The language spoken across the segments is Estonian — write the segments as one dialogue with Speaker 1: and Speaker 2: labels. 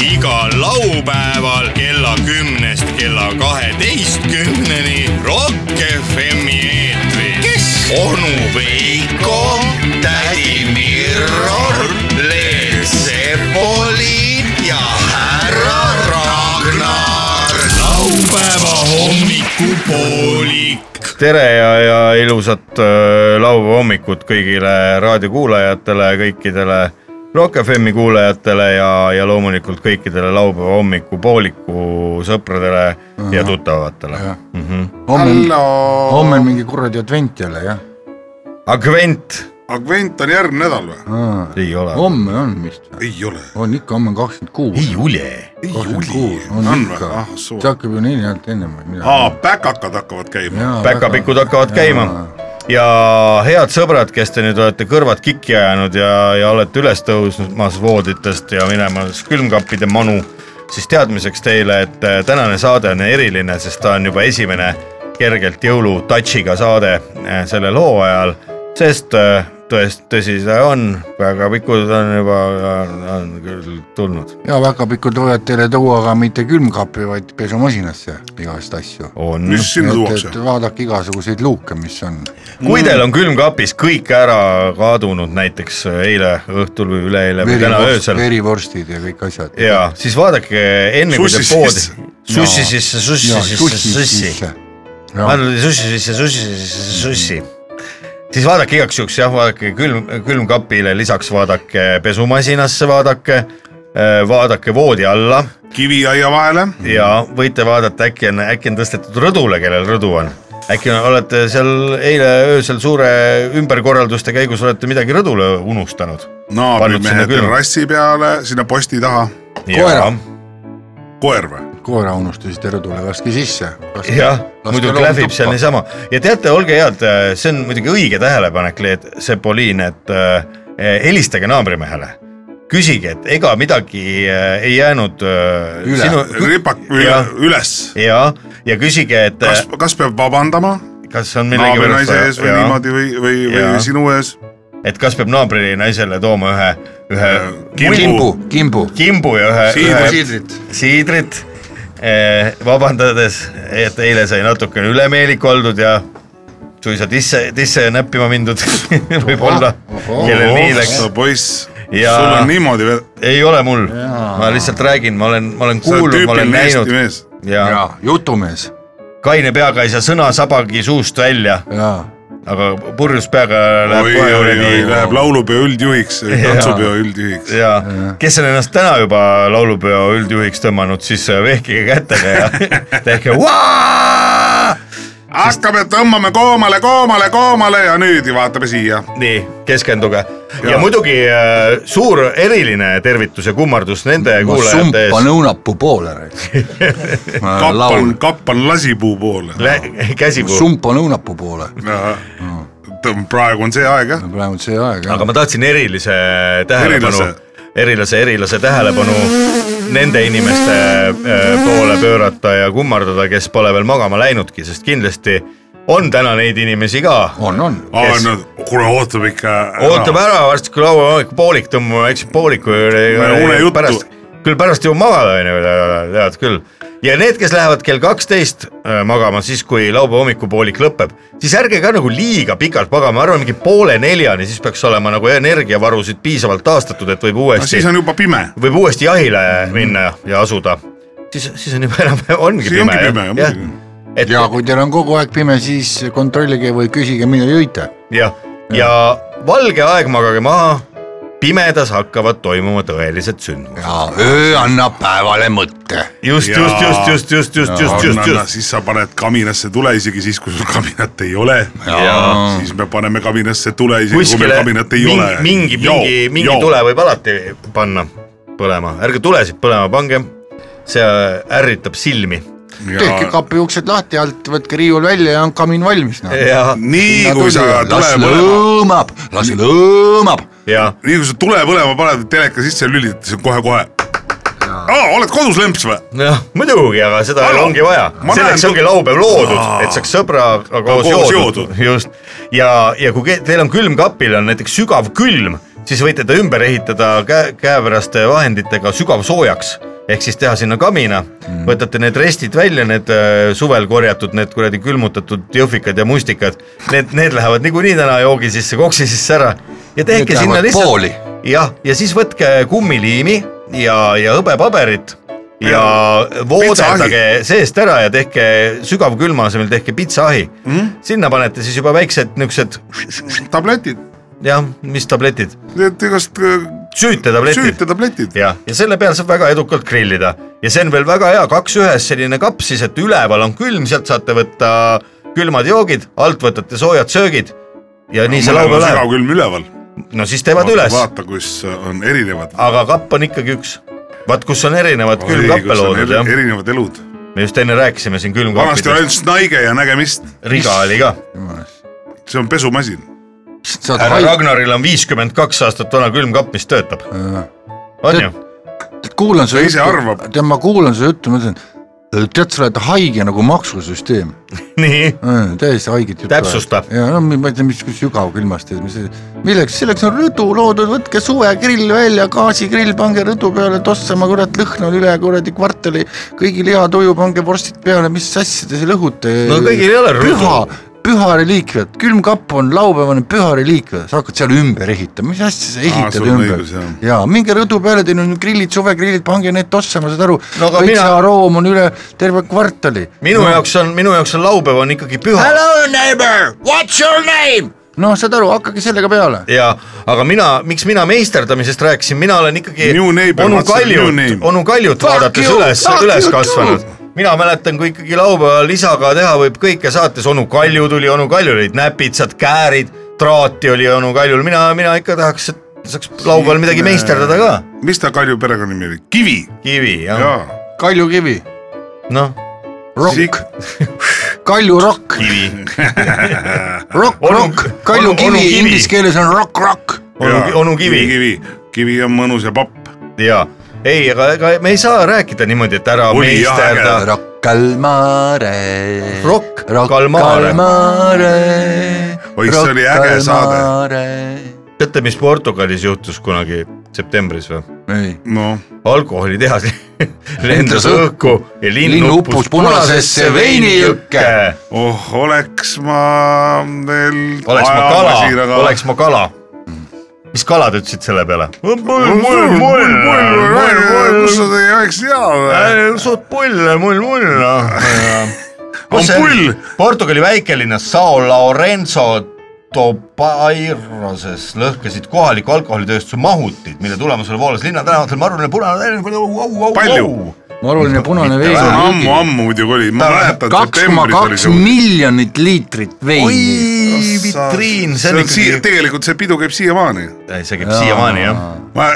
Speaker 1: igal laupäeval kella kümnest kella kaheteistkümneni Rock FM-i eetris . kes ? onu Veiko , tädi Mirror , Leel Sepoli ja härra Ragnar . laupäeva hommikupoolik .
Speaker 2: tere ja , ja ilusat äh, laupäeva hommikut kõigile raadiokuulajatele , kõikidele Rock FM-i kuulajatele ja , ja loomulikult kõikidele laupäeva hommikupooliku sõpradele Aha. ja tuttavatele
Speaker 3: Jah.
Speaker 2: mm . -hmm.
Speaker 3: homme ,
Speaker 4: hallo ,
Speaker 3: homme on mingi kuradi advent jälle jah
Speaker 2: Agvent
Speaker 4: Agvent on järgmine nädal või ?
Speaker 3: ah, ?
Speaker 2: ei ole oh. ,
Speaker 3: homme on vist või ?
Speaker 4: ei ole .
Speaker 3: on ikka , homme on kakskümmend kuus .
Speaker 2: ei ole .
Speaker 3: kakskümmend kuus on ikka ,
Speaker 2: ah,
Speaker 3: see hakkab ju neli nädalat ennem või
Speaker 4: aa , päkakad hakkavad käima .
Speaker 2: päkapikud hakkavad käima ja head sõbrad , kes te nüüd olete kõrvad kikki ajanud ja , ja olete üles tõusmas vooditest ja minemas külmkappide manu , siis teadmiseks teile , et äh, tänane saade on eriline , sest ta on juba esimene kergelt jõulutouch'iga saade äh, sellel hooajal , sest äh, tõest- , tõsi see on , päkapikud on juba , on küll tulnud .
Speaker 3: ja päkapikud võivad teile tuua ka mitte külmkapi , vaid pesumasinasse igast asju .
Speaker 2: on .
Speaker 4: mis sinna tuuakse ?
Speaker 3: vaadake igasuguseid luuke , mis on .
Speaker 2: kui teil on külmkapis kõik ära kadunud , näiteks eile õhtul või üleeile või täna öösel ,
Speaker 3: verivorstid ja kõik asjad .
Speaker 2: ja siis vaadake enne kui te
Speaker 4: Sussi
Speaker 2: poodi
Speaker 4: sisse. ,
Speaker 2: sussi
Speaker 3: Jaa.
Speaker 2: sisse , sussi sisse , sussi ,. andnud sussi sisse , sussi sisse , sussi . siis vaadake igaks juhuks jah , vaadake külm , külmkapile lisaks vaadake pesumasinasse , vaadake , vaadake voodi alla
Speaker 4: kiviaia vahele .
Speaker 2: ja võite vaadata , äkki on , äkki on tõstetud rõdule , kellel rõdu on . äkki olete seal eile öösel suure ümberkorralduste käigus olete midagi rõdule unustanud . Pannud sinna
Speaker 4: naabrimehe
Speaker 2: külma.
Speaker 4: terrassi peale , sinna posti taha .
Speaker 3: Koera. .
Speaker 4: koer või ?
Speaker 3: koera unustasid ära , tule laske sisse .
Speaker 2: jah , muidu klähvib seal . niisama ja teate , olge head , see on muidugi õige tähelepanek , Leet Sepoliin , et äh, helistage naabrimehele , küsige , et ega midagi äh, ei jäänud äh,
Speaker 3: Üle.
Speaker 4: ripak
Speaker 2: Jah.
Speaker 4: üles .
Speaker 2: ja , ja küsige , et
Speaker 4: kas
Speaker 2: kas, ,
Speaker 4: kas peab vabandama
Speaker 2: kas on millegipärast
Speaker 4: naabrinaise ees või
Speaker 2: jaa.
Speaker 4: niimoodi või , või ,
Speaker 2: Jaa.
Speaker 4: või sinu ees ?
Speaker 2: et kas peab naabrinaisele tooma ühe , ühe
Speaker 4: Kimbu.
Speaker 3: kimbu , kimbu .
Speaker 2: kimbu ja ühe ,
Speaker 4: Siidrit.
Speaker 2: ühe siidrit . vabandades , et eile sai natukene ülemeelik oldud ja suisa tisse , tisse näppima mindud võib-olla ,
Speaker 3: Ohoh.
Speaker 2: kellel nii läks .
Speaker 4: sa poiss ,
Speaker 2: Jaa.
Speaker 4: sul on niimoodi veel ,
Speaker 2: ei ole mul ,
Speaker 3: Jaa.
Speaker 2: ma lihtsalt räägin , ma olen , ma olen
Speaker 4: sa oled
Speaker 2: kuulnud , ma olen
Speaker 4: tüüpiline
Speaker 2: näinud
Speaker 4: Eesti mees .
Speaker 2: ja
Speaker 3: jaa , jutumees .
Speaker 2: kaine peaga ei saa sõna sabagi suust välja ,
Speaker 3: jaa ,
Speaker 2: aga purjus peaga läheb
Speaker 4: oi ,
Speaker 2: kohe
Speaker 4: oi , oi ,
Speaker 2: kuradi
Speaker 4: läheb laulupeo üldjuhiks , tantsupeo üldjuhiks .
Speaker 2: ja kes on ennast täna juba laulupeo üldjuhiks tõmmanud , siis äh, vehkige kätega ja tehke "Waa!"
Speaker 4: hakkame , tõmbame koomale , koomale , koomale ja nüüd ja vaatame siia .
Speaker 2: nii , keskenduge ja, ja
Speaker 4: Jaa.
Speaker 2: muidugi äh, suur eriline tervitus ja kummardus nende
Speaker 3: ma
Speaker 2: kuulajate
Speaker 3: sumpan õunapuu poole .
Speaker 2: Äh,
Speaker 3: ma
Speaker 4: kappan
Speaker 3: laulan ,,
Speaker 4: kappan lasipuu poole .
Speaker 2: ees , käsipuu ,
Speaker 3: sumpan õunapuu poole .
Speaker 2: Äh.
Speaker 4: praegu on see aeg jah .
Speaker 3: praegu on see aeg jah
Speaker 2: aga . ma tahtsin erilise tähelepanu
Speaker 4: Erilase. ,
Speaker 2: erilase , erilase tähelepanu nende inimeste äh, poole pöörata ja kummardada , kes pole veel magama läinudki , sest kindlasti on täna neid inimesi ka ,
Speaker 3: on , on .
Speaker 4: aa
Speaker 2: Kes- ,
Speaker 4: no kuule , ootame ikka . äh,
Speaker 2: ootame . ära varsti , kui laua hommik poolik tõmbame , eks pooliku
Speaker 4: Meil on unejuttu.
Speaker 2: pärast , küll pärast jõuab magada , onju , tead küll . ja need , kes lähevad kell kaksteist äh, magama , siis kui laupäeva hommikupoolik lõpeb , siis ärge ka nagu liiga pikalt magama , arvan mingi poole neljani , siis peaks olema nagu energiavarusid piisavalt taastatud , et võib
Speaker 4: no
Speaker 2: uuesti
Speaker 4: siis , on juba pime .
Speaker 2: võib uuesti jahile minna ja asuda . siis , siis on juba enam , ongi
Speaker 4: Siis
Speaker 2: pime,
Speaker 4: ongi pime, jah,
Speaker 2: jah.
Speaker 4: muidugi.
Speaker 2: Jah. et
Speaker 3: ja kui teil on kogu aeg pime , siis kontrollige või küsige , mida jõite .
Speaker 2: jah , ja valge aeg magage maha , pimedas hakkavad toimuma tõelised sündmused .
Speaker 3: ja öö annab päevale mõtte .
Speaker 2: just ,
Speaker 4: Jaa.
Speaker 2: just , just , just , just , just , just , just , just .
Speaker 4: siis sa paned kaminasse tule isegi siis , kui sul kaminat ei ole .
Speaker 2: Jaa.
Speaker 4: siis me paneme kaminasse tule isegi , kui meil
Speaker 2: kuskile
Speaker 4: kaminat ei
Speaker 2: mingi
Speaker 4: ole .,
Speaker 2: mingi , mingi , mingi tule võib alati panna põlema , ärge tulesid põlema pange , see ärritab silmi
Speaker 3: tehke kapi uksed lahti alt , võtke riiul välja ja on kamin valmis no. .
Speaker 2: ja ,
Speaker 4: nii kui sa tule
Speaker 3: las
Speaker 4: põlema ,
Speaker 3: lõõmab , las lõõmab .
Speaker 2: ja
Speaker 4: nii kui sa tule põlema paned , teleka sisse lülitad , siis on kohe-kohe . aa , oled kodus lemps või ?
Speaker 2: jah , muidugi , aga seda
Speaker 4: Aga-
Speaker 2: ongi vaja ,
Speaker 4: ma
Speaker 2: selleks
Speaker 4: näen-
Speaker 2: ongi laupäev loodud
Speaker 4: Aa. ,
Speaker 2: et saaks sõbraga koos
Speaker 4: koos
Speaker 2: joodud , just . ja , ja kui ke- teil on külmkapil on näiteks sügav külm , siis võite ta ümber ehitada käe , käepäraste vahenditega sügavsoojaks ehk siis teha sinna kamina
Speaker 4: Hmm.
Speaker 2: mm. , võtate need restid välja , need äh, suvel korjatud , need kuradi külmutatud jõhvikad ja mustikad , need , need lähevad niikuinii täna joogi sisse , koksi sisse ära ja tehke sinna
Speaker 5: lähevad
Speaker 2: lihtsalt
Speaker 5: pooli.
Speaker 2: jah , ja siis võtke kummiliimi ja , ja hõbepaberit ja vooderdage seest ära ja tehke sügavkülma asemel tehke pitsaahi mm? .
Speaker 4: Mhm.
Speaker 2: sinna panete siis juba väiksed niisugused
Speaker 4: tabletid ,
Speaker 2: jah , mis tabletid ,
Speaker 4: need igast äh,
Speaker 2: süütetabletid
Speaker 4: süütetabletid .
Speaker 2: ja , ja selle peal saab väga edukalt grillida ja see on veel väga hea , kaks ühes selline kapp siis , et üleval on külm , sealt saate võtta külmad joogid , alt võtate soojad söögid ja nii see laupäev läheb .
Speaker 4: sügavkülm üleval .
Speaker 2: no siis teevad üles , Ah,
Speaker 4: vaata , kus on erinevad .
Speaker 2: aga kapp on ikkagi üks . vaat kus on erinevad külmkappe loodud jah ,
Speaker 4: erinevad elud .
Speaker 2: me just enne rääkisime siin
Speaker 4: vanasti oli
Speaker 2: külmkappidest ,
Speaker 4: ainult snaige ja nägemist ,
Speaker 2: riga oli ka .
Speaker 4: see on pesumasin .
Speaker 3: saad
Speaker 2: härra
Speaker 3: haig-
Speaker 2: Ragnaril on viiskümmend kaks aastat vana külmkapp , mis töötab . on ju ?
Speaker 3: kuulan su
Speaker 4: Ta ise arvab.
Speaker 3: juttu , tead ma kuulan su juttu , ma ütlen , tead , sa oled haige nagu maksusüsteem ,
Speaker 2: nii ,
Speaker 3: täiesti haiget juttu .
Speaker 2: Täpsusta.
Speaker 3: ja no ma ei tea , mis mis sügavkülmast , mis , milleks , selleks on rõdu loodud , võtke suvegrill välja , gaasigrill , pange rõdu peale tossama , kurat , lõhn on üle kuradi kvartali , kõigi lihatuju pange vorstid peale , mis asja te seal õhute .
Speaker 2: No kõigil ei ole rõdu.
Speaker 3: püha , püha reliikviat , külmkapp on laupäevane püha reliikvia , sa hakkad seal ümber ehitama , mis asja sa ehitad
Speaker 4: sul on
Speaker 3: ümber
Speaker 4: õigus, jah.
Speaker 3: ja minge rõdu peale , teil on grillid , suvegrillid , pange need tossama , saad aru
Speaker 2: No
Speaker 3: no, ,
Speaker 2: aga
Speaker 3: kõik mina...
Speaker 2: mina-
Speaker 3: see aroom on üle terve kvartali .
Speaker 2: minu jaoks on , minu jaoks on laupäev on ikkagi püha
Speaker 3: no saad aru , hakake sellega peale .
Speaker 2: ja , aga mina , miks mina meisterdamisest rääkisin , mina olen ikkagi
Speaker 4: New neighbor,
Speaker 2: onu
Speaker 4: what's the new
Speaker 2: Kaljut
Speaker 4: name? ,
Speaker 2: onu Kaljut
Speaker 3: Fuck
Speaker 2: vaadates
Speaker 3: you,
Speaker 2: üles
Speaker 3: fuck ,
Speaker 2: üles
Speaker 3: you
Speaker 2: kasvanud . mina mäletan , kui ikkagi laupäeval isaga teha võib kõike saates , onu Kalju tuli , onu Kaljul olid näpitsad , käärid , traati oli onu Kaljul , mina , mina ikka tahaks , et saaks laupäeval midagi meisterdada ka . Ah,
Speaker 4: mis ta Kalju perekonnanimi oli ? Kivi .
Speaker 2: kivi , jah ,
Speaker 4: jaa .
Speaker 3: kaljukivi ,
Speaker 2: noh ,
Speaker 3: rokk , kaljurokk ,
Speaker 2: kivi .
Speaker 3: rokk ,
Speaker 2: Onu-
Speaker 3: rokk ,
Speaker 2: onu- onu
Speaker 3: kaljukivi
Speaker 2: kivi.
Speaker 3: inglise keeles on rokk , rokk .
Speaker 2: onu , onu kivi
Speaker 4: kivi , kivi on mõnus ja papp .
Speaker 2: ja ei , aga ega me ei saa rääkida niimoodi , et ära
Speaker 4: Oli jah,
Speaker 2: meisterda
Speaker 4: äge.
Speaker 3: Rokk Kalmare .
Speaker 2: Rokk
Speaker 3: Rokk
Speaker 2: Kalmare.
Speaker 3: Kalmare .
Speaker 4: Oi, see oli äge saade. .
Speaker 2: teate , mis Portugalis juhtus kunagi septembris või ?
Speaker 3: ei ,
Speaker 4: noh ,
Speaker 2: alkoholitehas lendas õhku ja linn,
Speaker 3: Linn
Speaker 2: uppus,
Speaker 3: uppus
Speaker 2: punasesse
Speaker 3: punasesse
Speaker 2: veinijõkke .
Speaker 4: oh oleks ma veel .
Speaker 2: oleks ma kala , oleks ma kala . mis kala te ütlesite selle peale ?
Speaker 4: kus sa teie aeg seal või ?
Speaker 2: Äh, suht pull , mull , mull , noh .
Speaker 4: On pull. .
Speaker 2: Portugali väikelinnas Sao Laurenzo Tobairoses lõhkesid kohaliku alkoholitööstuse mahutid , mille tulemusel voolas linna tänavatel maruline punane .
Speaker 4: Palju?
Speaker 3: maruline punane
Speaker 4: see on
Speaker 2: Ah,
Speaker 3: vein .
Speaker 4: ammu-ammu muidugi oli , ma mäletan ,
Speaker 3: kaks koma
Speaker 4: septembris oli
Speaker 3: kaks
Speaker 4: see .
Speaker 3: miljonit liitrit veini .
Speaker 2: oi , vitriin , see on
Speaker 4: siia ,
Speaker 2: ikkagi ,
Speaker 4: tegelikult see pidu käib siiamaani .
Speaker 2: see käib siiamaani jah .
Speaker 4: ma ,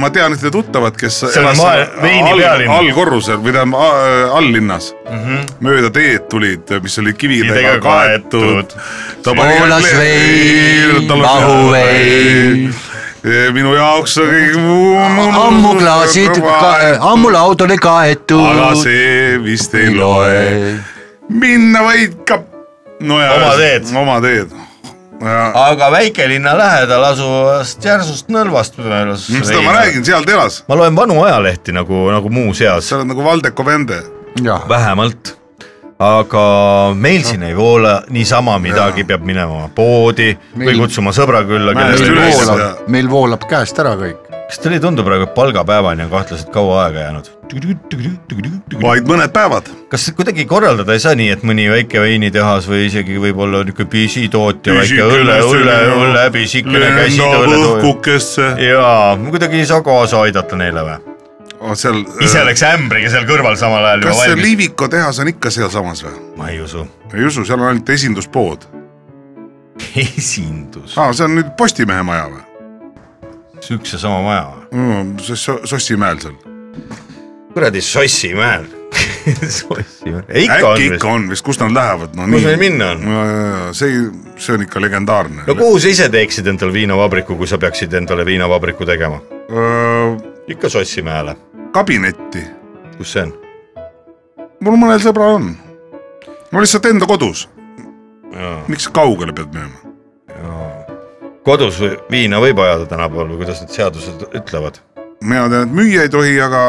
Speaker 4: ma tean ühte tuttavat , kes
Speaker 2: on
Speaker 4: elas
Speaker 2: maael- veini pealinn. Mhm.
Speaker 4: allkorrusel või tähendab a- alllinnas mm . -hmm. mööda teed tulid , mis olid kividega
Speaker 2: Kividega kaetud.
Speaker 4: kaetud .
Speaker 3: Voolas vein, mahuvein. .
Speaker 4: minu jaoks on kõik .
Speaker 3: ammu klaasid , ammu laud oli
Speaker 4: aga
Speaker 3: kaetud .
Speaker 4: see vist ei loe . minna vaid ka . no ja .
Speaker 2: Oma teed.
Speaker 4: oma teed .
Speaker 2: aga väikelinna lähedal asuvast Järsust Nõlvast möödas .
Speaker 4: seda ma räägin , seal ta elas .
Speaker 2: ma loen vanu ajalehti nagu , nagu muuseas ,
Speaker 4: sa oled nagu Valdeko vende .
Speaker 3: jah ,
Speaker 2: vähemalt . aga meil siin ei voola niisama midagi , peab minema poodi või
Speaker 3: Meil-
Speaker 2: kutsuma sõbra külla .
Speaker 4: Mäest
Speaker 3: meil
Speaker 4: üles
Speaker 3: voolab
Speaker 4: ja- ,
Speaker 3: meil voolab käest ära kõik .
Speaker 2: kas teile ei tundu praegu , et palgapäevani on kahtlaselt kaua aega jäänud ?
Speaker 4: vaid mõned päevad .
Speaker 2: kas kuidagi korraldada ei saa nii , et mõni väike veinitehas või isegi võib-olla niisugune pisitootja , väike õlle , õlle , õllepisikene
Speaker 4: lendab
Speaker 2: käsitööle .
Speaker 4: õhkukesse .
Speaker 2: jaa , kuidagi ei saa kaasa aidata neile või ?
Speaker 4: seal .
Speaker 2: ise läks ämbriga seal kõrval samal ajal juba
Speaker 4: kas see
Speaker 2: valmis .
Speaker 4: Liiviko tehas on ikka sealsamas või ?
Speaker 2: ma ei usu .
Speaker 4: ei usu , seal on ainult esinduspood .
Speaker 2: esindus ,
Speaker 4: aa , see on nüüd Postimehe maja või
Speaker 2: see üks ja sama maja või ?
Speaker 4: mm, ? Sossimäel seal .
Speaker 2: kuradi Sossimäel . Sossimäel , ikka on
Speaker 4: äkki
Speaker 2: vist
Speaker 4: ikka . on vist , kust nad lähevad , no
Speaker 2: kus
Speaker 4: nii
Speaker 2: neil . minna on ?
Speaker 4: see , see on ikka legendaarne
Speaker 2: no . kuhu sa ise teeksid endale viinavabriku , kui sa peaksid endale viinavabriku tegema ? ikka Sossimäele ,
Speaker 4: kabinetti ,
Speaker 2: kus see on ?
Speaker 4: mul mõnel sõbral on . no lihtsalt enda kodus , miks sa kaugele pead minema ?
Speaker 2: kodus või- viina võib ajada tänapäeval või kuidas need seadused ütlevad ?
Speaker 4: mina tean , et müüa ei tohi , aga .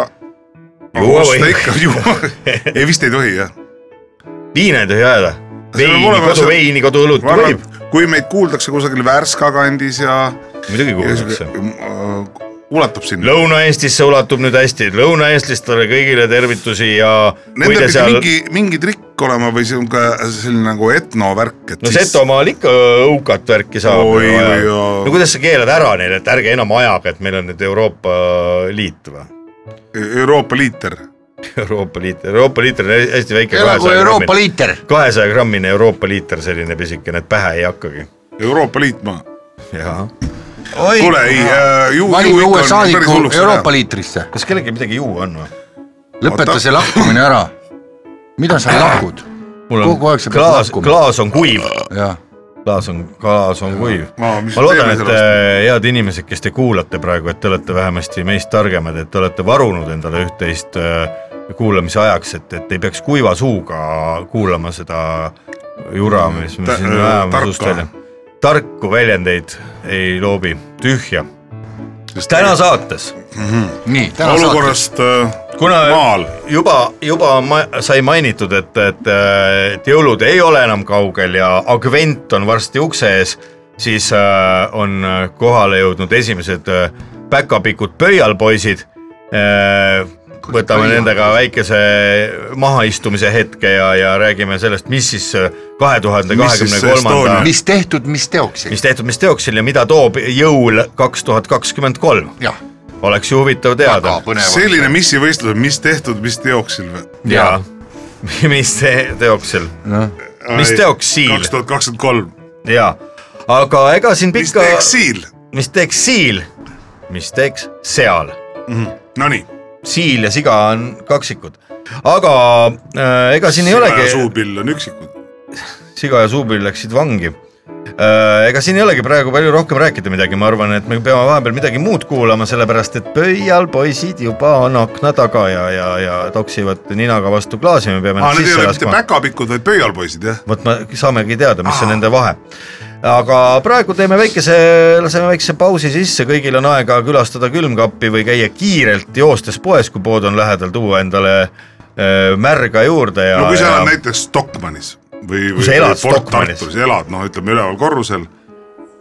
Speaker 2: Juua võib.
Speaker 4: ei vist ei tohi jah .
Speaker 2: viina ei tohi ajada ?
Speaker 4: See peab
Speaker 2: veini ,
Speaker 4: olema see-
Speaker 2: koduveini , koduõlut võib ,
Speaker 4: kui meid kuuldakse kusagil Värska kandis ja .
Speaker 2: muidugi kuulatakse .
Speaker 4: ulatub sinna .
Speaker 2: Lõuna-Eestisse ulatub nüüd hästi , lõunaeestlastele kõigile tervitusi ja kui
Speaker 4: Nendel
Speaker 2: te
Speaker 4: pidi seal...
Speaker 2: seal ,
Speaker 4: mingi , mingi trikk olema või see on ka selline nagu etnovärk , et
Speaker 2: no . Setomaal ikka õukat värki saab .
Speaker 4: Oi, oi, oi.
Speaker 2: no kuidas sa keelad ära neile , et ärge enam ajage , et meil on nüüd Euroopa Liit või ?
Speaker 4: E-, Euroopa liiter .
Speaker 2: Euroopa Liit , Euroopa liiter on hästi väike .
Speaker 3: elagu Euroopa . liiter .
Speaker 2: kahesaja grammine Euroopa liiter , selline pisikene , et pähe ei hakkagi .
Speaker 4: Euroopa Liit ma .
Speaker 2: jaa .
Speaker 4: kuule ei , ju , ju
Speaker 3: valime uue
Speaker 4: ikka on päris
Speaker 3: saadiku
Speaker 4: hulluks
Speaker 3: Euroopa liitrisse ,
Speaker 2: kas kellelgi midagi juua on või ?
Speaker 4: Oota.
Speaker 3: lõpeta see lahkumine ära . mida sa lahkud ? Kogu aeg sa pead
Speaker 2: klaas ,
Speaker 3: lakkuma.
Speaker 2: klaas on kuiv ,
Speaker 3: jah ,
Speaker 2: klaas on , klaas on kuiv .
Speaker 4: Aa, mis
Speaker 2: ma loodan ,
Speaker 4: teeme
Speaker 2: et
Speaker 4: sellest?
Speaker 2: äh, head inimesed , kes te kuulate praegu , et te olete vähemasti meist targemad , et te olete varunud endale üht-teist äh, kuulamise ajaks , et , et ei peaks kuiva suuga kuulama seda jura , mis me
Speaker 4: Ta-
Speaker 2: siin
Speaker 4: äh,
Speaker 2: ajame
Speaker 4: tarka.
Speaker 2: suust välja . tarku väljendeid ei loobi , tühja .
Speaker 4: Sest
Speaker 2: täna saates
Speaker 3: nii , täna saates
Speaker 4: olukorrast äh,
Speaker 2: kuna
Speaker 4: maal .
Speaker 2: juba , juba ma, sai mainitud , et , et , et jõulud ei ole enam kaugel ja advent on varsti ukse ees , siis äh, on kohale jõudnud esimesed äh, päkapikud pöialpoisid äh, . võtame nendega väikese mahaistumise hetke ja , ja räägime sellest , mis siis kahe tuhande
Speaker 4: Mis siis
Speaker 2: kahekümne
Speaker 4: see
Speaker 2: kolmanda
Speaker 4: Estonia- ,
Speaker 3: mis tehtud , mis teoks ,
Speaker 2: mis tehtud , mis teoksil ja mida toob jõul kaks tuhat kakskümmend kolm .
Speaker 3: jah ,
Speaker 2: oleks ju huvitav
Speaker 3: väga
Speaker 2: teada .
Speaker 3: põnev .
Speaker 4: selline missivõistlus , mis tehtud , mis teoksil või ?
Speaker 2: jaa , mis te- teoksil
Speaker 3: Noh,
Speaker 2: Mis teoksil?
Speaker 4: kaks tuhat kakskümmend kolm .
Speaker 2: jaa , aga ega siin
Speaker 4: mis
Speaker 2: pikka ,
Speaker 4: teeks siil ?
Speaker 2: mis teeks siil , mis teeks seal ,
Speaker 4: Nonii .
Speaker 2: siil ja siga on kaksikud , aga äh, ega siin ei olegi .
Speaker 4: suupill on üksikud .
Speaker 2: siga ja suupill läksid vangi . ega siin ei olegi praegu palju rohkem rääkida midagi , ma arvan , et me peame vahepeal midagi muud kuulama , sellepärast et pöial poisid juba on akna taga ja , ja , ja toksivad ninaga vastu klaasi , me peame
Speaker 4: aa ,
Speaker 2: nad
Speaker 4: need ei
Speaker 2: sisse
Speaker 4: ole mitte
Speaker 2: laskma .
Speaker 4: päkapikud , vaid pöialpoisid jah ?
Speaker 2: vot me saamegi teada , mis on nende vahe . aga praegu teeme väikese , laseme väikese pausi sisse , kõigil on aega külastada külmkappi või käia kiirelt joostes poes , kui pood on lähedal , tuua endale äh, märga juurde ja .
Speaker 4: no kui sa elad näiteks Stockmannis või ,
Speaker 2: Kui
Speaker 4: või
Speaker 2: sa elad
Speaker 4: või Fort
Speaker 2: Stockmannis.
Speaker 4: Tartus elad , noh , ütleme üleval korrusel .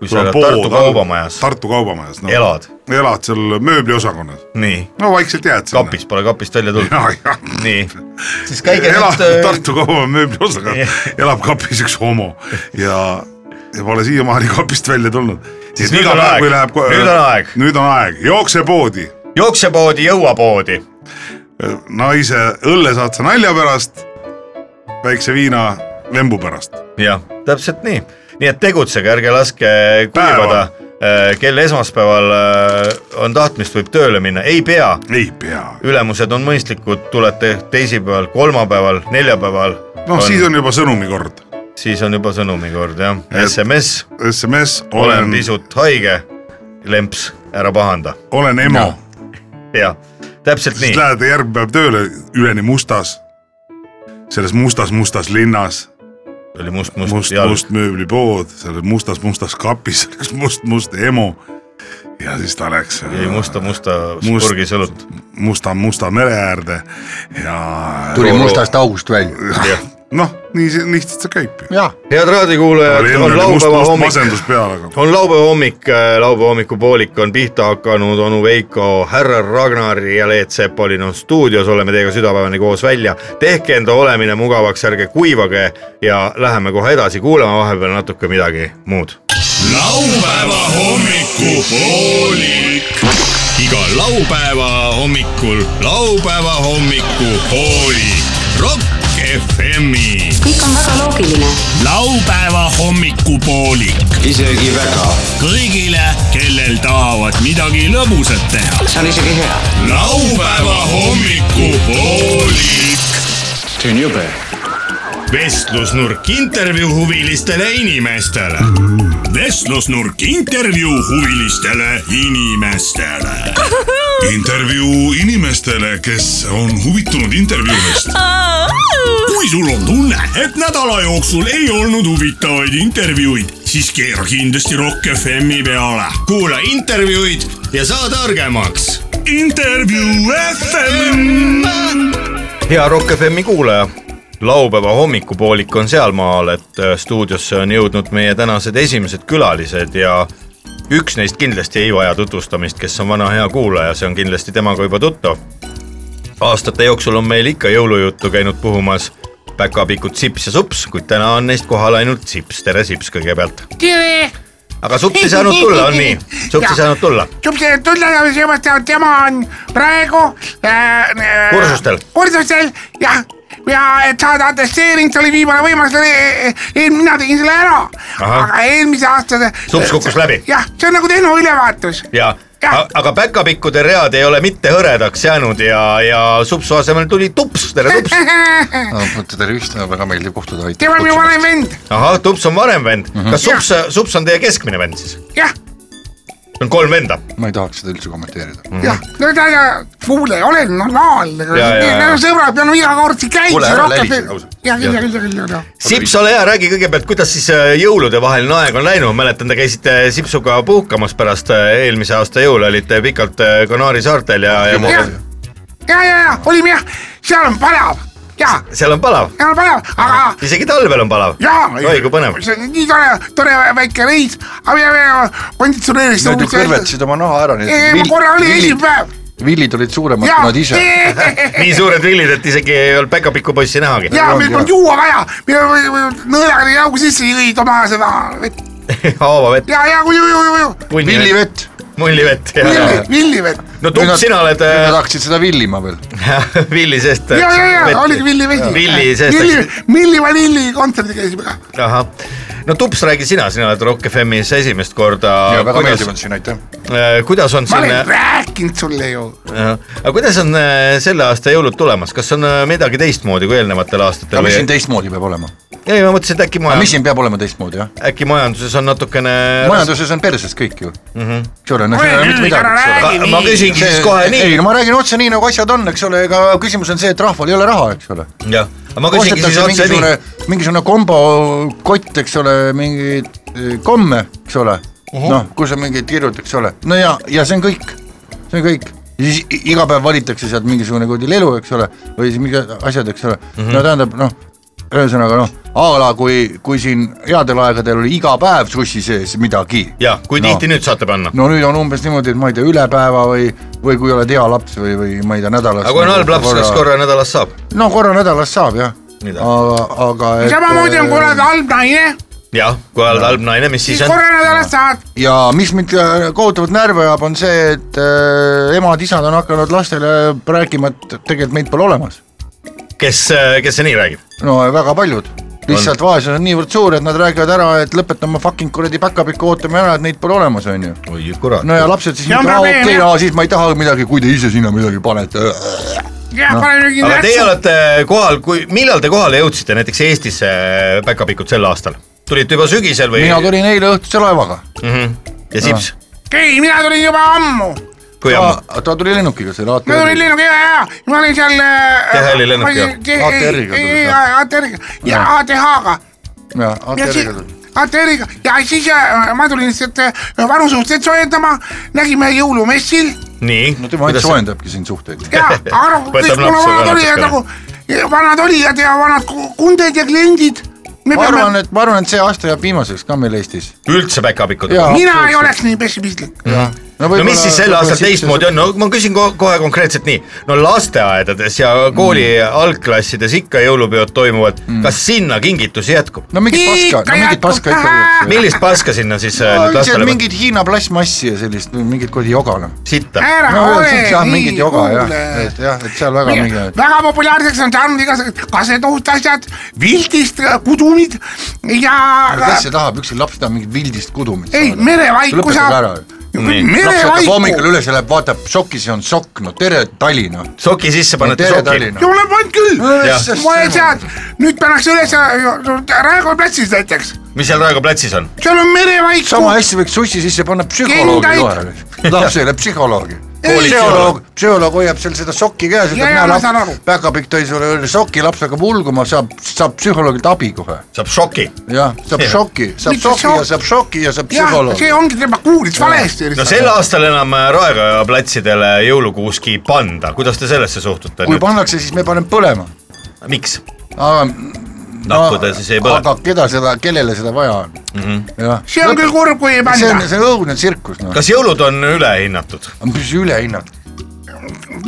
Speaker 2: kui sa elad Tartu kaubamajas ,
Speaker 4: Tartu kaubamajas no, .
Speaker 2: elad ,
Speaker 4: elad seal mööbliosakonnas ,
Speaker 2: nii ,
Speaker 4: no vaikselt jääd sinna .
Speaker 2: kapis , pole kapist välja tulnud ,
Speaker 4: ja , ja .
Speaker 2: nii . siis käige
Speaker 4: elab
Speaker 2: nüüd , äh,
Speaker 4: Tartu kaubamaja mööbliosakond , elab kapis üks homo ja , ja pole siiamaani kapist välja tulnud .
Speaker 2: Siis nüüd on aeg. Nüüd on aeg.
Speaker 4: nüüd on aeg , jookse poodi ,
Speaker 2: jookse poodi , jõua poodi ,
Speaker 4: naise õlle saad sa nalja pärast , väikse viina lembu pärast .
Speaker 2: jah , täpselt nii , nii et tegutsege , ärge laske kuivada
Speaker 4: Päeval. ,
Speaker 2: kel esmaspäeval äh, on tahtmist , võib tööle minna , ei pea
Speaker 4: ei pea ,
Speaker 2: ülemused on mõistlikud , tulete teisipäeval , kolmapäeval , neljapäeval .
Speaker 4: noh , siis on juba sõnumi kord .
Speaker 2: siis on juba sõnumi kord jah ,
Speaker 4: Et-
Speaker 2: SMS ,
Speaker 4: SMS
Speaker 2: olen
Speaker 4: olen ,
Speaker 2: pisut haige , lemps , ära pahanda ,
Speaker 4: olen emo ,
Speaker 2: jah , täpselt
Speaker 4: siis
Speaker 2: nii ,
Speaker 4: lähed järgmine päev tööle üleni mustas , selles mustas mustas linnas
Speaker 2: oli must , must ,
Speaker 4: must ,
Speaker 2: jalg ,
Speaker 4: must mööblipood , seal oli mustas mustas kapis üks must , must EMO . ja siis ta läks
Speaker 2: jäi musta , musta
Speaker 4: Must-
Speaker 2: spurgis õlut ,
Speaker 4: musta , musta mere äärde ja
Speaker 3: tuli mustast august välja ,
Speaker 2: jah .
Speaker 4: noh , nii see lihtsalt see käib ju .
Speaker 3: jah ,
Speaker 2: head raadiokuulajad , on
Speaker 4: nagu must ,
Speaker 2: laupäeva
Speaker 4: must
Speaker 2: hommik
Speaker 4: masendus peal , aga
Speaker 2: on laupäeva hommik , laupäeva hommikupoolik on pihta hakanud , onu Veiko , härra Ragnar ja Leet Sepolin on stuudios , oleme teiega südapäevani koos välja . tehke enda olemine mugavaks , ärge kuivage ja läheme kohe edasi , kuulame vahepeal natuke midagi muud .
Speaker 1: laupäeva hommikupoolik . iga laupäeva hommikul laupäeva hommikupoolik . Rock FM-i .
Speaker 5: kõik on väga loogiline .
Speaker 6: laupäeva hommikupoolik .
Speaker 7: isegi väga .
Speaker 6: kõigile , kellel tahavad midagi lõbusat teha .
Speaker 5: see on isegi hea .
Speaker 1: laupäeva hommikupoolik .
Speaker 7: see on jube .
Speaker 1: vestlusnurk intervjuu huvilistele inimestele .
Speaker 6: vestlusnurk intervjuu huvilistele inimestele .
Speaker 4: intervjuu inimestele , kes on huvitunud intervjuudest .
Speaker 6: kui sul on tunne , et nädala jooksul ei olnud huvitavaid intervjuuid , siis keera kindlasti Rock FM-i peale .
Speaker 1: kuula intervjuud ja saa targemaks .
Speaker 6: intervjuu FM .
Speaker 2: hea Rock FM-i kuulaja , laupäeva hommikupoolik on sealmaal , et äh, stuudiosse on jõudnud meie tänased esimesed külalised ja üks neist kindlasti ei vaja tutvustamist , kes on vana hea kuulaja , see on kindlasti temaga juba tuttav . aastate jooksul on meil ikka jõulujuttu käinud puhumas päkapikud Sips ja Sups , kuid täna on neist kohal ainult Sips , tere Sips kõigepealt .
Speaker 8: tere ,
Speaker 2: aga Sups ei saanud tulla , on nii ? Sups ei saanud tulla ,
Speaker 8: tubli tulla ja seepärast et tema on praegu äh, .
Speaker 2: Kursustel. .
Speaker 8: kursustel jah , ja et saada atesteering , see oli viimane võimalus , mina tegin selle ära ,
Speaker 2: Ahah.
Speaker 8: aga eelmise aasta .
Speaker 2: Sups kukkus läbi.
Speaker 8: jah , see on nagu tehnoülevaatus .
Speaker 2: ja
Speaker 8: Jah.
Speaker 2: a- aga päkapikkude read ei ole mitte hõredaks jäänud ja , ja Supsu asemel tuli Tups , tere Tups .
Speaker 3: tervist , väga meeldiv kohtuda , aitäh
Speaker 8: tema on minu vanem vend ,
Speaker 2: ahah , Tups on vanem vend mm , -hmm. kas Sups , Sups on teie keskmine vend siis ?
Speaker 8: jah ,
Speaker 2: on kolm venda .
Speaker 3: ma ei tahaks seda üldse kommenteerida .
Speaker 8: jah , no ta , kuule , olen normaalne ,
Speaker 2: Mhm. ja, ja.
Speaker 8: meil on sõbrad , me oleme iga kord siin käinud
Speaker 3: Kuule, . ära lärisi ausalt.
Speaker 8: jah , küll , küll , küll , küll
Speaker 2: Sips , ole hea , räägi kõigepealt , kuidas siis äh, jõuludevaheline aeg on läinud , mäletan , te käisite Sipsuga puhkamas pärast äh, eelmise aasta jõule , olite pikalt äh, Kanaari saartel ja , ja
Speaker 8: jah , ja , ja , ja olime jah , seal on palav ja ,
Speaker 2: seal on palav ,
Speaker 8: seal on palav , aga
Speaker 2: isegi talvel on palav .
Speaker 8: ja .
Speaker 2: oi kui põnev .
Speaker 8: see on nii tore , tore väike reis , aga me konditsioneerist .
Speaker 3: Nad ju kõrvetasid oma naha ära , nii
Speaker 8: ei , ma korra olin esimene päev
Speaker 3: villid olid suuremad
Speaker 8: ja
Speaker 3: kui nad , ise .
Speaker 2: nii suured villid , et isegi ei olnud päkapikku poissi nähagi .
Speaker 8: ja
Speaker 3: Jah,
Speaker 8: meil
Speaker 3: jah.
Speaker 8: polnud juua vaja , me nõelaga nii augu sisse jõid oma seda vett
Speaker 2: haavavett ,
Speaker 8: ja , ja kui ju , ju , ju , ju ,
Speaker 3: villivett .
Speaker 2: mullivett ja , ja .
Speaker 8: villi , villivett
Speaker 2: no Tups , sina oled
Speaker 3: Nad
Speaker 2: äh,
Speaker 3: tahtsid seda villima veel .
Speaker 2: Villi seest .
Speaker 8: ja , ja , ja oligi Villi Vesi .
Speaker 2: Villi seest läks
Speaker 8: Villi , Milli Vanilli kontserdi käisime ka .
Speaker 2: ahah , no Tups , räägi sina , sina oled Rock FM-is esimest korda .
Speaker 3: ja väga meeldiv on . siin , aitäh .
Speaker 2: kuidas on
Speaker 8: ma
Speaker 2: siin ,
Speaker 8: olen rääkinud sulle ju
Speaker 2: aga kuidas on äh, selle aasta jõulud tulemas , kas on äh, midagi teistmoodi kui eelnevatel aastatel
Speaker 3: aga mis siin ? teistmoodi peab olema ?
Speaker 2: ei , ma mõtlesin , et äkki
Speaker 3: aga mis
Speaker 2: majandus ,
Speaker 3: siin peab olema teistmoodi , jah ?
Speaker 2: äkki majanduses on natukene .
Speaker 3: majanduses on perses kõik ju mm . -hmm. eks ole , no siin ei ole mitte
Speaker 8: ära
Speaker 3: midagi .
Speaker 8: räägi nii.
Speaker 2: ma küsingi Mhm. siis kohe nii
Speaker 3: ei , no ma räägin otse nii , nagu asjad on , eks ole , ega küsimus on see , et rahval ei ole raha , eks ole .
Speaker 2: jah , aga ma küsingi siis
Speaker 3: ostetakse
Speaker 2: otse
Speaker 3: mingisugune
Speaker 2: nii ,,
Speaker 3: mingisugune kombokott , eks ole , mingeid eh, komme , eks ole uh -huh. , noh , kus on mingid kirjud , eks ole , no ja , ja see on kõik , see on kõik . ja siis i- iga päev valitakse sealt mingisugune kuradi lelu , eks ole , või siis mingid asjad , eks ole
Speaker 2: Mhm.
Speaker 3: uh , -huh. no tähendab noh , ühesõnaga noh , a la kui , kui siin headel aegadel oli iga päev sussi sees midagi
Speaker 2: ja kui
Speaker 3: No.
Speaker 2: tihti nüüd saate panna ?
Speaker 3: no nüüd on umbes niimoodi , et ma ei tea , üle päeva või , või kui oled hea laps või , või ma ei tea , nädalas . nagu
Speaker 2: aga kui on halb laps , kas ? korra nädalas saab ?
Speaker 3: no korra nädalas saab jah ,
Speaker 2: Mida?
Speaker 3: aga , aga . äh,
Speaker 8: samamoodi on , kui oled halb naine ,
Speaker 2: jah , kui oled halb naine , mis
Speaker 8: siis
Speaker 2: siis on ?
Speaker 8: korra nädalas saad .
Speaker 3: ja mis mind äh, kohutavalt närvi ajab , on see , et äh, emad-isad on hakanud lastele rääkima , et tegelikult meid pole olemas .
Speaker 2: kes , kes see nii räägib ?
Speaker 3: no väga paljud lihtsalt vaesus on niivõrd suur , et nad räägivad ära , et lõpetame fucking kuradi päkapikku , ootame ära , et neid pole olemas , onju .
Speaker 2: oi kurat .
Speaker 3: no ja lapsed siis ,
Speaker 8: See on probleem,
Speaker 3: okei ,
Speaker 8: jah.
Speaker 3: siis ma ei taha midagi , kui te ise sinna midagi panete .
Speaker 8: jah , paneme mingi
Speaker 2: aga teie
Speaker 8: nätsu .
Speaker 2: olete kohal , kui , millal te kohale jõudsite näiteks Eestisse päkapikud sel aastal ? tulite juba sügisel või ?
Speaker 3: mina tulin eile õhtuse laevaga
Speaker 2: mm . -hmm. ja Sips ,
Speaker 8: ei , mina tulin juba ammu .
Speaker 2: kui ammu ?
Speaker 3: ta, ta tuli lennukiga selle ATR-iga .
Speaker 8: ma tulin lennukiga ja , ja ma olin seal . äh,
Speaker 2: THL-i lennukiga.
Speaker 3: ATR-iga tulid,
Speaker 8: ei ,
Speaker 3: jah.
Speaker 8: ATR-iga ja ATH-ga .
Speaker 3: jah , ATR-iga tuli .
Speaker 8: ATR-iga ja siis äh, ma tulin lihtsalt äh, vanu suhteid soojendama , nägime jõulumessil
Speaker 2: nii .
Speaker 3: no tema ainult . soojendabki siin suhteid .
Speaker 8: ja , aga noh ,
Speaker 2: Võtab
Speaker 8: kõik mul
Speaker 2: napsu
Speaker 8: vanad
Speaker 2: ka
Speaker 8: olijad nagu
Speaker 2: natukene. ,
Speaker 8: vanad olijad ja vanad ku- kunded ja kliendid . me
Speaker 3: ma arvan ,
Speaker 8: peame ,
Speaker 3: et ma arvan , et see aasta jääb viimaseks ka meil Eestis .
Speaker 2: üldse päkapikud ?
Speaker 3: Jaa.
Speaker 2: no
Speaker 8: mina ei oleks nii pessimistlik .
Speaker 2: mis siis sel aastal teistmoodi on , no ma küsin ko kohe konkreetselt nii , no lasteaedades ja kooli mm. algklassides ikka jõulupeod toimuvad mm. , kas sinna kingitusi jätkub ?
Speaker 3: no mingit
Speaker 8: Ikka
Speaker 3: paska , no mingit
Speaker 8: jätkub.
Speaker 3: paska ikka viiakse .
Speaker 2: millist paska sinna siis äh, nüüd
Speaker 3: lihtsalt
Speaker 2: lastele mingit...
Speaker 3: mingit Hiina plastmassi ja sellist , mingit kuradi joga noh .
Speaker 2: sitta ?
Speaker 8: ära
Speaker 3: no
Speaker 8: ole
Speaker 3: jah , mingit
Speaker 8: nii
Speaker 3: joga jah ,
Speaker 8: kuule
Speaker 3: et jah , et seal väga mingi
Speaker 8: Mingi- väga populaarseks on saanud igasugused kasetohut asjad , vildist äh, kudumid ja
Speaker 3: kes see tahab , ükski laps tahab mingit vildist kudumit
Speaker 8: ei , merevaiku saab ,
Speaker 3: laps hakkab hommikul
Speaker 8: merevaiku ,
Speaker 3: üles ja läheb , vaatab šokis ja on šokk , no tere Tallinna .
Speaker 2: soki sisse panete
Speaker 3: tere noh.
Speaker 2: soki ?
Speaker 3: Tallinna .
Speaker 8: jumala pannud küll
Speaker 2: Jah. ,
Speaker 8: ma olen sealt , nüüd pannakse üles äh, Raekoja platsis näiteks ,
Speaker 2: mis seal Raekoja platsis on ?
Speaker 8: seal on merevaiku
Speaker 3: sama , hästi võiks sussi sisse panna psühholoogi Noh,
Speaker 8: Kindaid.
Speaker 3: kohe . lapsele psühholoogi . psühholoog , psühholoog hoiab seal seda sokki käes ,
Speaker 8: Jaa, jaa, ma saan aru.
Speaker 3: päkapikk tõi sulle öeldi soki , laps hakkab ulguma , saab , saab psühholoogilt abi kohe .
Speaker 2: saab šoki .
Speaker 3: jah , saab
Speaker 2: Jah.
Speaker 3: šoki , saab
Speaker 8: Mitte
Speaker 3: šoki ja
Speaker 8: šokk.
Speaker 3: saab šoki ja saab
Speaker 8: jah ,
Speaker 3: psühholoogi
Speaker 8: see . ongi , tema kuulis valesti
Speaker 2: no sel . aastal enam Raekoja platsidele jõulukuuski ei panda , kuidas te sellesse suhtute
Speaker 3: kui
Speaker 2: nüüd ,
Speaker 3: pannakse , siis me paneme põlema .
Speaker 2: miks ? nakkuda siis ei põle .
Speaker 3: aga keda seda , kellele seda vaja on mm ? -hmm. jah ,
Speaker 8: Mhm. see on küll kurb , kui ei
Speaker 3: see on ,
Speaker 8: panda .
Speaker 3: see on õudne tsirkus noh ,
Speaker 2: kas jõulud on ülehinnatud ?
Speaker 3: mis ülehinnatud .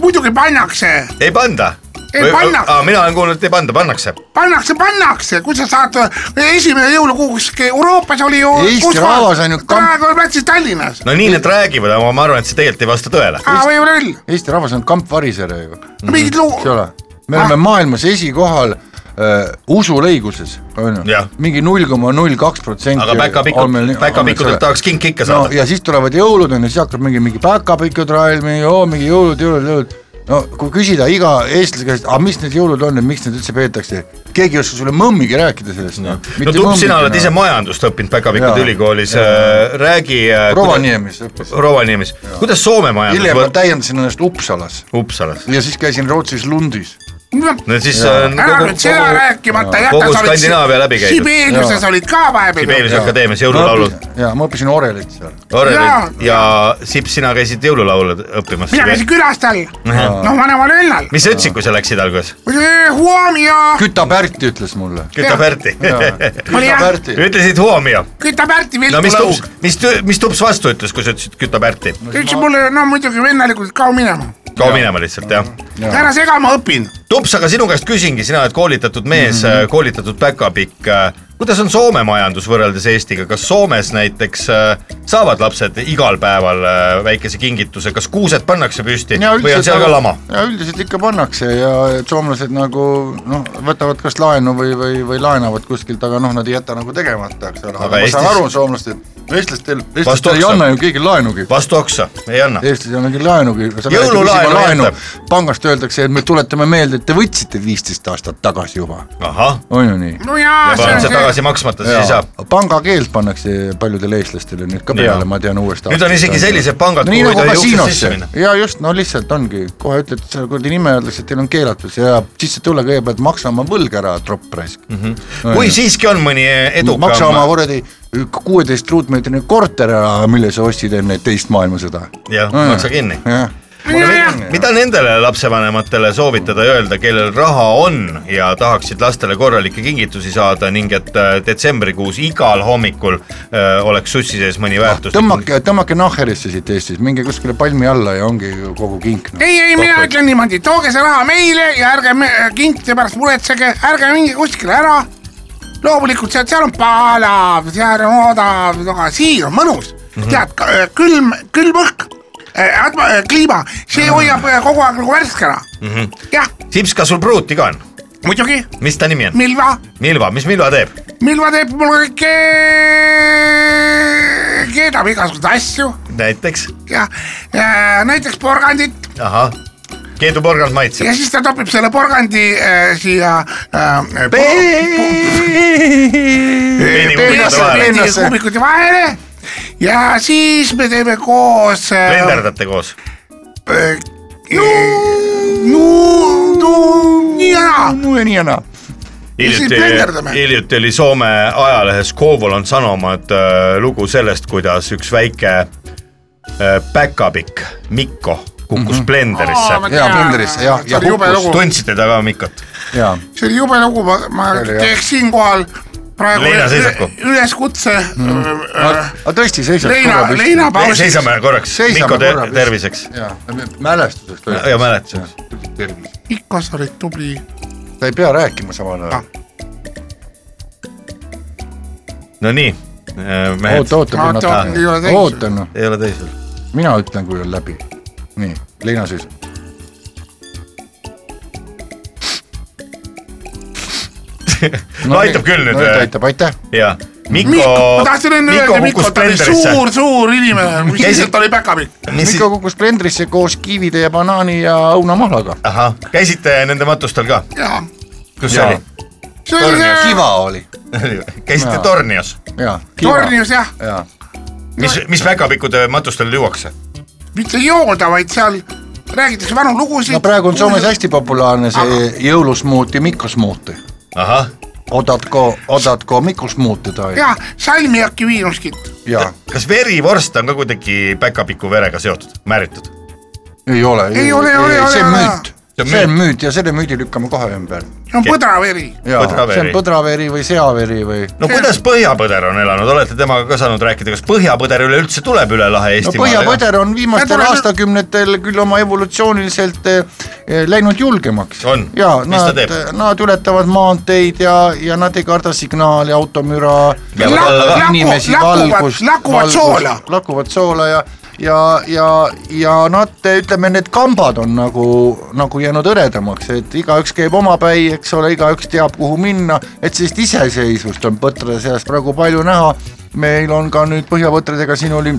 Speaker 8: muidugi pannakse ,
Speaker 2: ei panda ?
Speaker 8: Ei panna.
Speaker 2: mina olen kuulnud , et ei panda , pannakse .
Speaker 8: pannakse , pannakse , kus sa saad , esimene jõulukuuks Euroopas oli ju .
Speaker 3: Eesti rahvas on ju kamp-
Speaker 8: praegu on platsis Tallinnas .
Speaker 2: no nii nad räägivad , aga ma arvan , et see tegelikult ei vasta tõele .
Speaker 8: aa , võib-olla küll ,
Speaker 3: Eesti rahvas on kamp varisere ju ,
Speaker 8: Mm-hmm. mingid
Speaker 3: eks
Speaker 8: luu- ,
Speaker 3: ole . me oleme
Speaker 2: Ah.
Speaker 3: maailmas esikohal äh, usulõiguses , on ju
Speaker 2: Jah. ,
Speaker 3: mingi null koma null kaks protsenti .
Speaker 2: aga päkapikud , päkapikkudelt tahaks kinki ikka
Speaker 3: no
Speaker 2: saada .
Speaker 3: ja siis tulevad jõulud on ju , siis hakkab mingi , mingi päkapikud raiumi , oo mingi jõulud , jõulud , jõulud . no kui küsida iga eestlase käest , aga mis need jõulud on ja miks neid üldse peetakse , keegi ei oska sulle mõmmigi rääkida sellest noh. no. .
Speaker 2: Noh. no Tupp , sina oled
Speaker 3: noh.
Speaker 2: ise majandust õppinud Päkapikkude
Speaker 3: Jaa.
Speaker 2: ülikoolis , räägi .
Speaker 3: Rovaniemis õppis ,
Speaker 2: Rovaniemis , kuidas Soome majandus
Speaker 3: hiljem ma
Speaker 2: võt- ,
Speaker 3: täiendasin ennast Uppsalas
Speaker 2: Uppsalas ,
Speaker 3: ja siis käisin Rootsis Lundis .
Speaker 2: no siis äh, on
Speaker 8: ära nüüd seda
Speaker 2: kogu
Speaker 8: rääkimata
Speaker 2: kogu Skandinaavia läbi käidud.
Speaker 8: Sibeeriuses
Speaker 3: Jaa.
Speaker 8: olid ka vahepeal .
Speaker 2: Sibeliuse akadeemias jõululaulud ,
Speaker 3: ja ma õppisin orelit seal .
Speaker 8: Jaa.
Speaker 2: Orelid ja Sips , sina käisid jõululaule õppimas
Speaker 8: mina . käisin külas tal , noh , vanemal vennal .
Speaker 2: mis sa ütlesid , kui sa läksid alguses ?
Speaker 8: Huomio ,
Speaker 3: Küta Pärti ütles mulle .
Speaker 2: küta
Speaker 8: Jaa.
Speaker 2: Pärti .
Speaker 8: Oli
Speaker 3: Küta
Speaker 8: jah.
Speaker 3: Pärti .
Speaker 2: ütlesid Huomio .
Speaker 8: küta Pärti
Speaker 2: no mis
Speaker 8: vilkulõug
Speaker 2: Tups , mis , mis Tups vastu ütles , kui sa ütlesid küta Pärti ?
Speaker 8: ütles mulle , no muidugi vennalikult kao minema ,
Speaker 2: kao minema lihtsalt jah .
Speaker 8: ära sega , ma õpin .
Speaker 2: Tups , aga sinu käest küsingi , sina oled koolitatud mees mm , -hmm. koolitatud päkapikk . kuidas on Soome majandus võrreldes Eestiga , kas Soomes näiteks äh, saavad lapsed igal päeval äh, väikese kingituse , kas kuused pannakse püsti
Speaker 3: ja
Speaker 2: või on seal ka lama ?
Speaker 3: ja üldiselt ikka pannakse ja et soomlased nagu noh , võtavad kas laenu või , või , või laenavad kuskilt , aga noh , nad ei jäta nagu tegemata , eks ole , aga, aga ma saan
Speaker 2: Eestis-
Speaker 3: aru soomlastel , eestlastel ,
Speaker 2: Vastu
Speaker 3: eestlastel ei
Speaker 2: oksa.
Speaker 3: anna ju keegi laenugi .
Speaker 2: vastu oksa , ei anna .
Speaker 3: Eestis ei anna keegi laenugi , sa lähed
Speaker 2: Jõululaenu
Speaker 3: küsima laenu
Speaker 2: jätab. ,
Speaker 3: pangast öeldakse , et me tuletame meelde , et te võtsite viisteist aastat tagasi juba ,
Speaker 2: ahah ,
Speaker 3: on ju nii ?
Speaker 8: no jaa , see
Speaker 2: paned
Speaker 8: on
Speaker 2: see
Speaker 8: see ,
Speaker 2: tagasi maksmata , siis ei saa .
Speaker 3: pangakeeld pannakse paljudele eestlastele nüüd ka
Speaker 2: Jaa.
Speaker 3: peale , ma tean uuest
Speaker 2: Nüüd on isegi sellised pangad,
Speaker 3: no, nii
Speaker 2: kuhu ei
Speaker 3: nagu
Speaker 2: tohi uksest
Speaker 3: kasiinosse
Speaker 2: sisse minna. .
Speaker 3: ja just , no lihtsalt ongi , kohe ütled selle kuradi nime , öeldakse , et teil on keelatud , see jääb sisse tulla , kõigepealt maksa oma võlg ära , tropp raisk
Speaker 2: Mhm,
Speaker 3: mm .
Speaker 2: kui siiski on mõni edukam .
Speaker 3: maksa oma kuradi kuueteist ruutmeetrine korter ära , mille sa ostsid enne teist maailmasõda .
Speaker 2: jah ,
Speaker 3: Nojah.
Speaker 2: maksa kinni .
Speaker 3: jah ,
Speaker 2: mida nendele lapsevanematele soovitada öelda , kellel raha on ja tahaksid lastele korralikke kingitusi saada ning et äh, detsembrikuus igal hommikul äh, oleks sussi sees mõni väärtus .
Speaker 3: tõmmake , tõmmake nahherisse siit Eestist , minge kuskile palmi alla ja ongi ju kogu kink noh. no. .
Speaker 8: ei , ei , mina ütlen niimoodi , tooge see raha meile ja ärge me, kinkide pärast muretsege , ärge minge kuskile ära . loomulikult seal , seal on palav , seal on odav , aga siin on mõnus mm , -hmm. tead , külm , külm õhk , atmo- , äh, kliima , see hoiab äh, kogu aeg nagu värskena mm . -hmm. jah ,
Speaker 2: Sips , kas sul pruuti ka on ?
Speaker 8: muidugi ,
Speaker 2: mis ta nimi on ?
Speaker 8: Milva
Speaker 2: Milva , mis Milva teeb ?
Speaker 8: Milva teeb mulle kõike , keedab igasuguseid asju
Speaker 2: näiteks ,
Speaker 8: ja, ja näiteks porgandit
Speaker 2: ahah , Keedu porgand maitseb
Speaker 8: ja . siis ta topib selle porgandi äh, siia äh,
Speaker 2: peenrasse vahele.
Speaker 8: peenrasse kuubikute vahele ja siis me teeme koos äh, .
Speaker 2: blenderdate koos .
Speaker 8: Eh, nuu , nuu , nii ja naa .
Speaker 3: Ah, no ja nii ja naa .
Speaker 2: hiljuti
Speaker 8: blenderdame. ,
Speaker 2: hiljuti oli Soome ajalehes Kovolon Sanomad äh, lugu sellest , kuidas üks väike äh, päkapikk Mikko kukkus mm -hmm. blenderisse .
Speaker 3: ja plundrisse ja , ja
Speaker 8: See oli jube
Speaker 3: kukkus
Speaker 8: lugu.
Speaker 2: tundsite taga Mikot ?
Speaker 3: ja
Speaker 8: see oli jube lugu , ma , ma
Speaker 3: See oli, jah.
Speaker 8: teeks siinkohal praegu
Speaker 2: Leina
Speaker 8: üle-
Speaker 2: seisaku.
Speaker 8: üleskutse äh,
Speaker 3: aga tõesti seisab .
Speaker 8: Leina , Leina pausi .
Speaker 2: seisame korraks
Speaker 3: Seisame
Speaker 2: seisame Mikko ter
Speaker 3: korra, püsti.
Speaker 2: terviseks
Speaker 3: jaa , mälestusest
Speaker 2: ja mäletuseks .
Speaker 8: ikka sa olid tubli
Speaker 3: ta ei pea rääkima samal
Speaker 8: Ah.
Speaker 3: ajal .
Speaker 2: no nii , mehed
Speaker 3: oota , oota , kui
Speaker 8: Oota, oota, ei ole
Speaker 3: nad ,
Speaker 8: täis.
Speaker 3: oota noh ,
Speaker 2: ei ole teisel .
Speaker 3: mina ütlen , kui on läbi . nii , Liina seisab .
Speaker 2: No aitab küll nüüd. eh.
Speaker 3: no, . aitab , aitäh .
Speaker 2: ja
Speaker 8: Mikko ,
Speaker 2: Mikko
Speaker 8: ma tahtsin enne , öelda ,
Speaker 2: Mikko
Speaker 8: Mikko ,
Speaker 2: kukkus
Speaker 8: ta oli
Speaker 2: blenderisse .
Speaker 8: suur , suur inimene , mis
Speaker 2: Käisid-
Speaker 8: lihtsalt oli päkapikk .
Speaker 2: mis siis
Speaker 3: Mikko , kukkus blendrisse koos kiivide ja banaani ja õunamahlaga .
Speaker 2: ahah , käisite nende matustel ka ,
Speaker 8: jaa ,
Speaker 2: kus see
Speaker 3: Jaa.
Speaker 2: oli ?
Speaker 8: see oli see
Speaker 3: kiva oli .
Speaker 2: käisite
Speaker 3: Jaa.
Speaker 2: Tornios ,
Speaker 3: jaa , kiva .
Speaker 8: Tornius jah ,
Speaker 3: jaa ,
Speaker 2: mis , mis päkapikkude matustel juuakse ?
Speaker 8: mitte jooda , vaid seal räägitakse vanu lugusid .
Speaker 3: no praegu on Soomes . hästi populaarne see jõulusmuuti , mikrosmuuti .
Speaker 2: ahah ,
Speaker 3: odatko , odatko mikrosmuuti tai
Speaker 8: ja salmiakki viinuskit ,
Speaker 3: ja
Speaker 2: kas verivorst on ka kuidagi päkapiku verega seotud , määritud ?
Speaker 3: ei ole ,
Speaker 8: Ei ole, ei ole, ei ole,
Speaker 3: see on
Speaker 8: ei ole.
Speaker 3: müüt ,
Speaker 2: See on
Speaker 3: see on
Speaker 2: müüt.
Speaker 3: müüt ja selle müüdi lükkame kohe ümber .
Speaker 8: see on põdraveri .
Speaker 3: jaa , see on
Speaker 2: Põdraveri.
Speaker 3: põdraveri või seaveri või
Speaker 2: no kuidas põhjapõder on elanud , olete temaga ka saanud rääkida , kas põhjapõder üleüldse tuleb üle lahe
Speaker 3: no
Speaker 2: Eestimaale ?
Speaker 3: põhjapõder on viimastel
Speaker 8: Nad on-
Speaker 3: aastakümnetel küll oma evolutsiooniliselt eh, eh, läinud julgemaks
Speaker 2: On. .
Speaker 3: ja
Speaker 2: Mis ta
Speaker 3: nad
Speaker 2: teeb? ,
Speaker 3: nad ületavad maanteid ja , ja nad ei karda signaali , automüra .
Speaker 2: Ja Laku- laku-
Speaker 3: inimesi ,
Speaker 8: lakuvad-
Speaker 3: valgust ,
Speaker 8: lakuvad soola.
Speaker 3: lakuvad soola ja , ja , ja , ja nad , ütleme , need kambad on nagu , nagu jäänud hõredamaks , et igaüks käib omapäi , eks ole , igaüks teab , kuhu minna , et sellist iseseisvust on põtrade seas praegu palju näha . meil on ka nüüd põhjapõtradega siin oli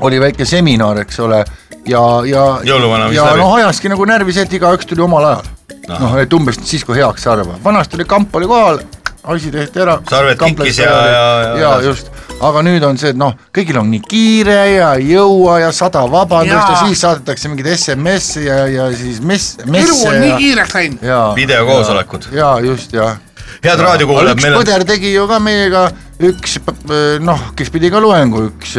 Speaker 3: oli väike seminar , eks ole , ja , ja
Speaker 2: Jõuluvana viis
Speaker 3: ja
Speaker 2: läbi.
Speaker 3: noh , ajaski nagu närvi see , et igaüks tuli omal ajal . noh , et umbes siis , kui heaks arvab , vanasti oli kamp oli kohal , asi tehti ära .
Speaker 2: Sarved kikkis ja- ja- ja-
Speaker 3: ja just , aga nüüd on see , et noh , kõigil on nii kiire ja ei jõua ja sada vabandust ja
Speaker 8: Jaa.
Speaker 3: siis saadetakse mingeid SMS-e ja , ja siis mess ,
Speaker 8: elu
Speaker 3: messe
Speaker 8: on nii
Speaker 3: ja ,
Speaker 8: kiireks läinud .
Speaker 3: ja ,
Speaker 2: videokoosolekud ,
Speaker 3: ja just jah
Speaker 2: head raadiokuulajad ,
Speaker 3: üks
Speaker 2: meil on
Speaker 3: põder tegi ju ka meiega üks p- p- noh , kes pidi ka loengu , üks ,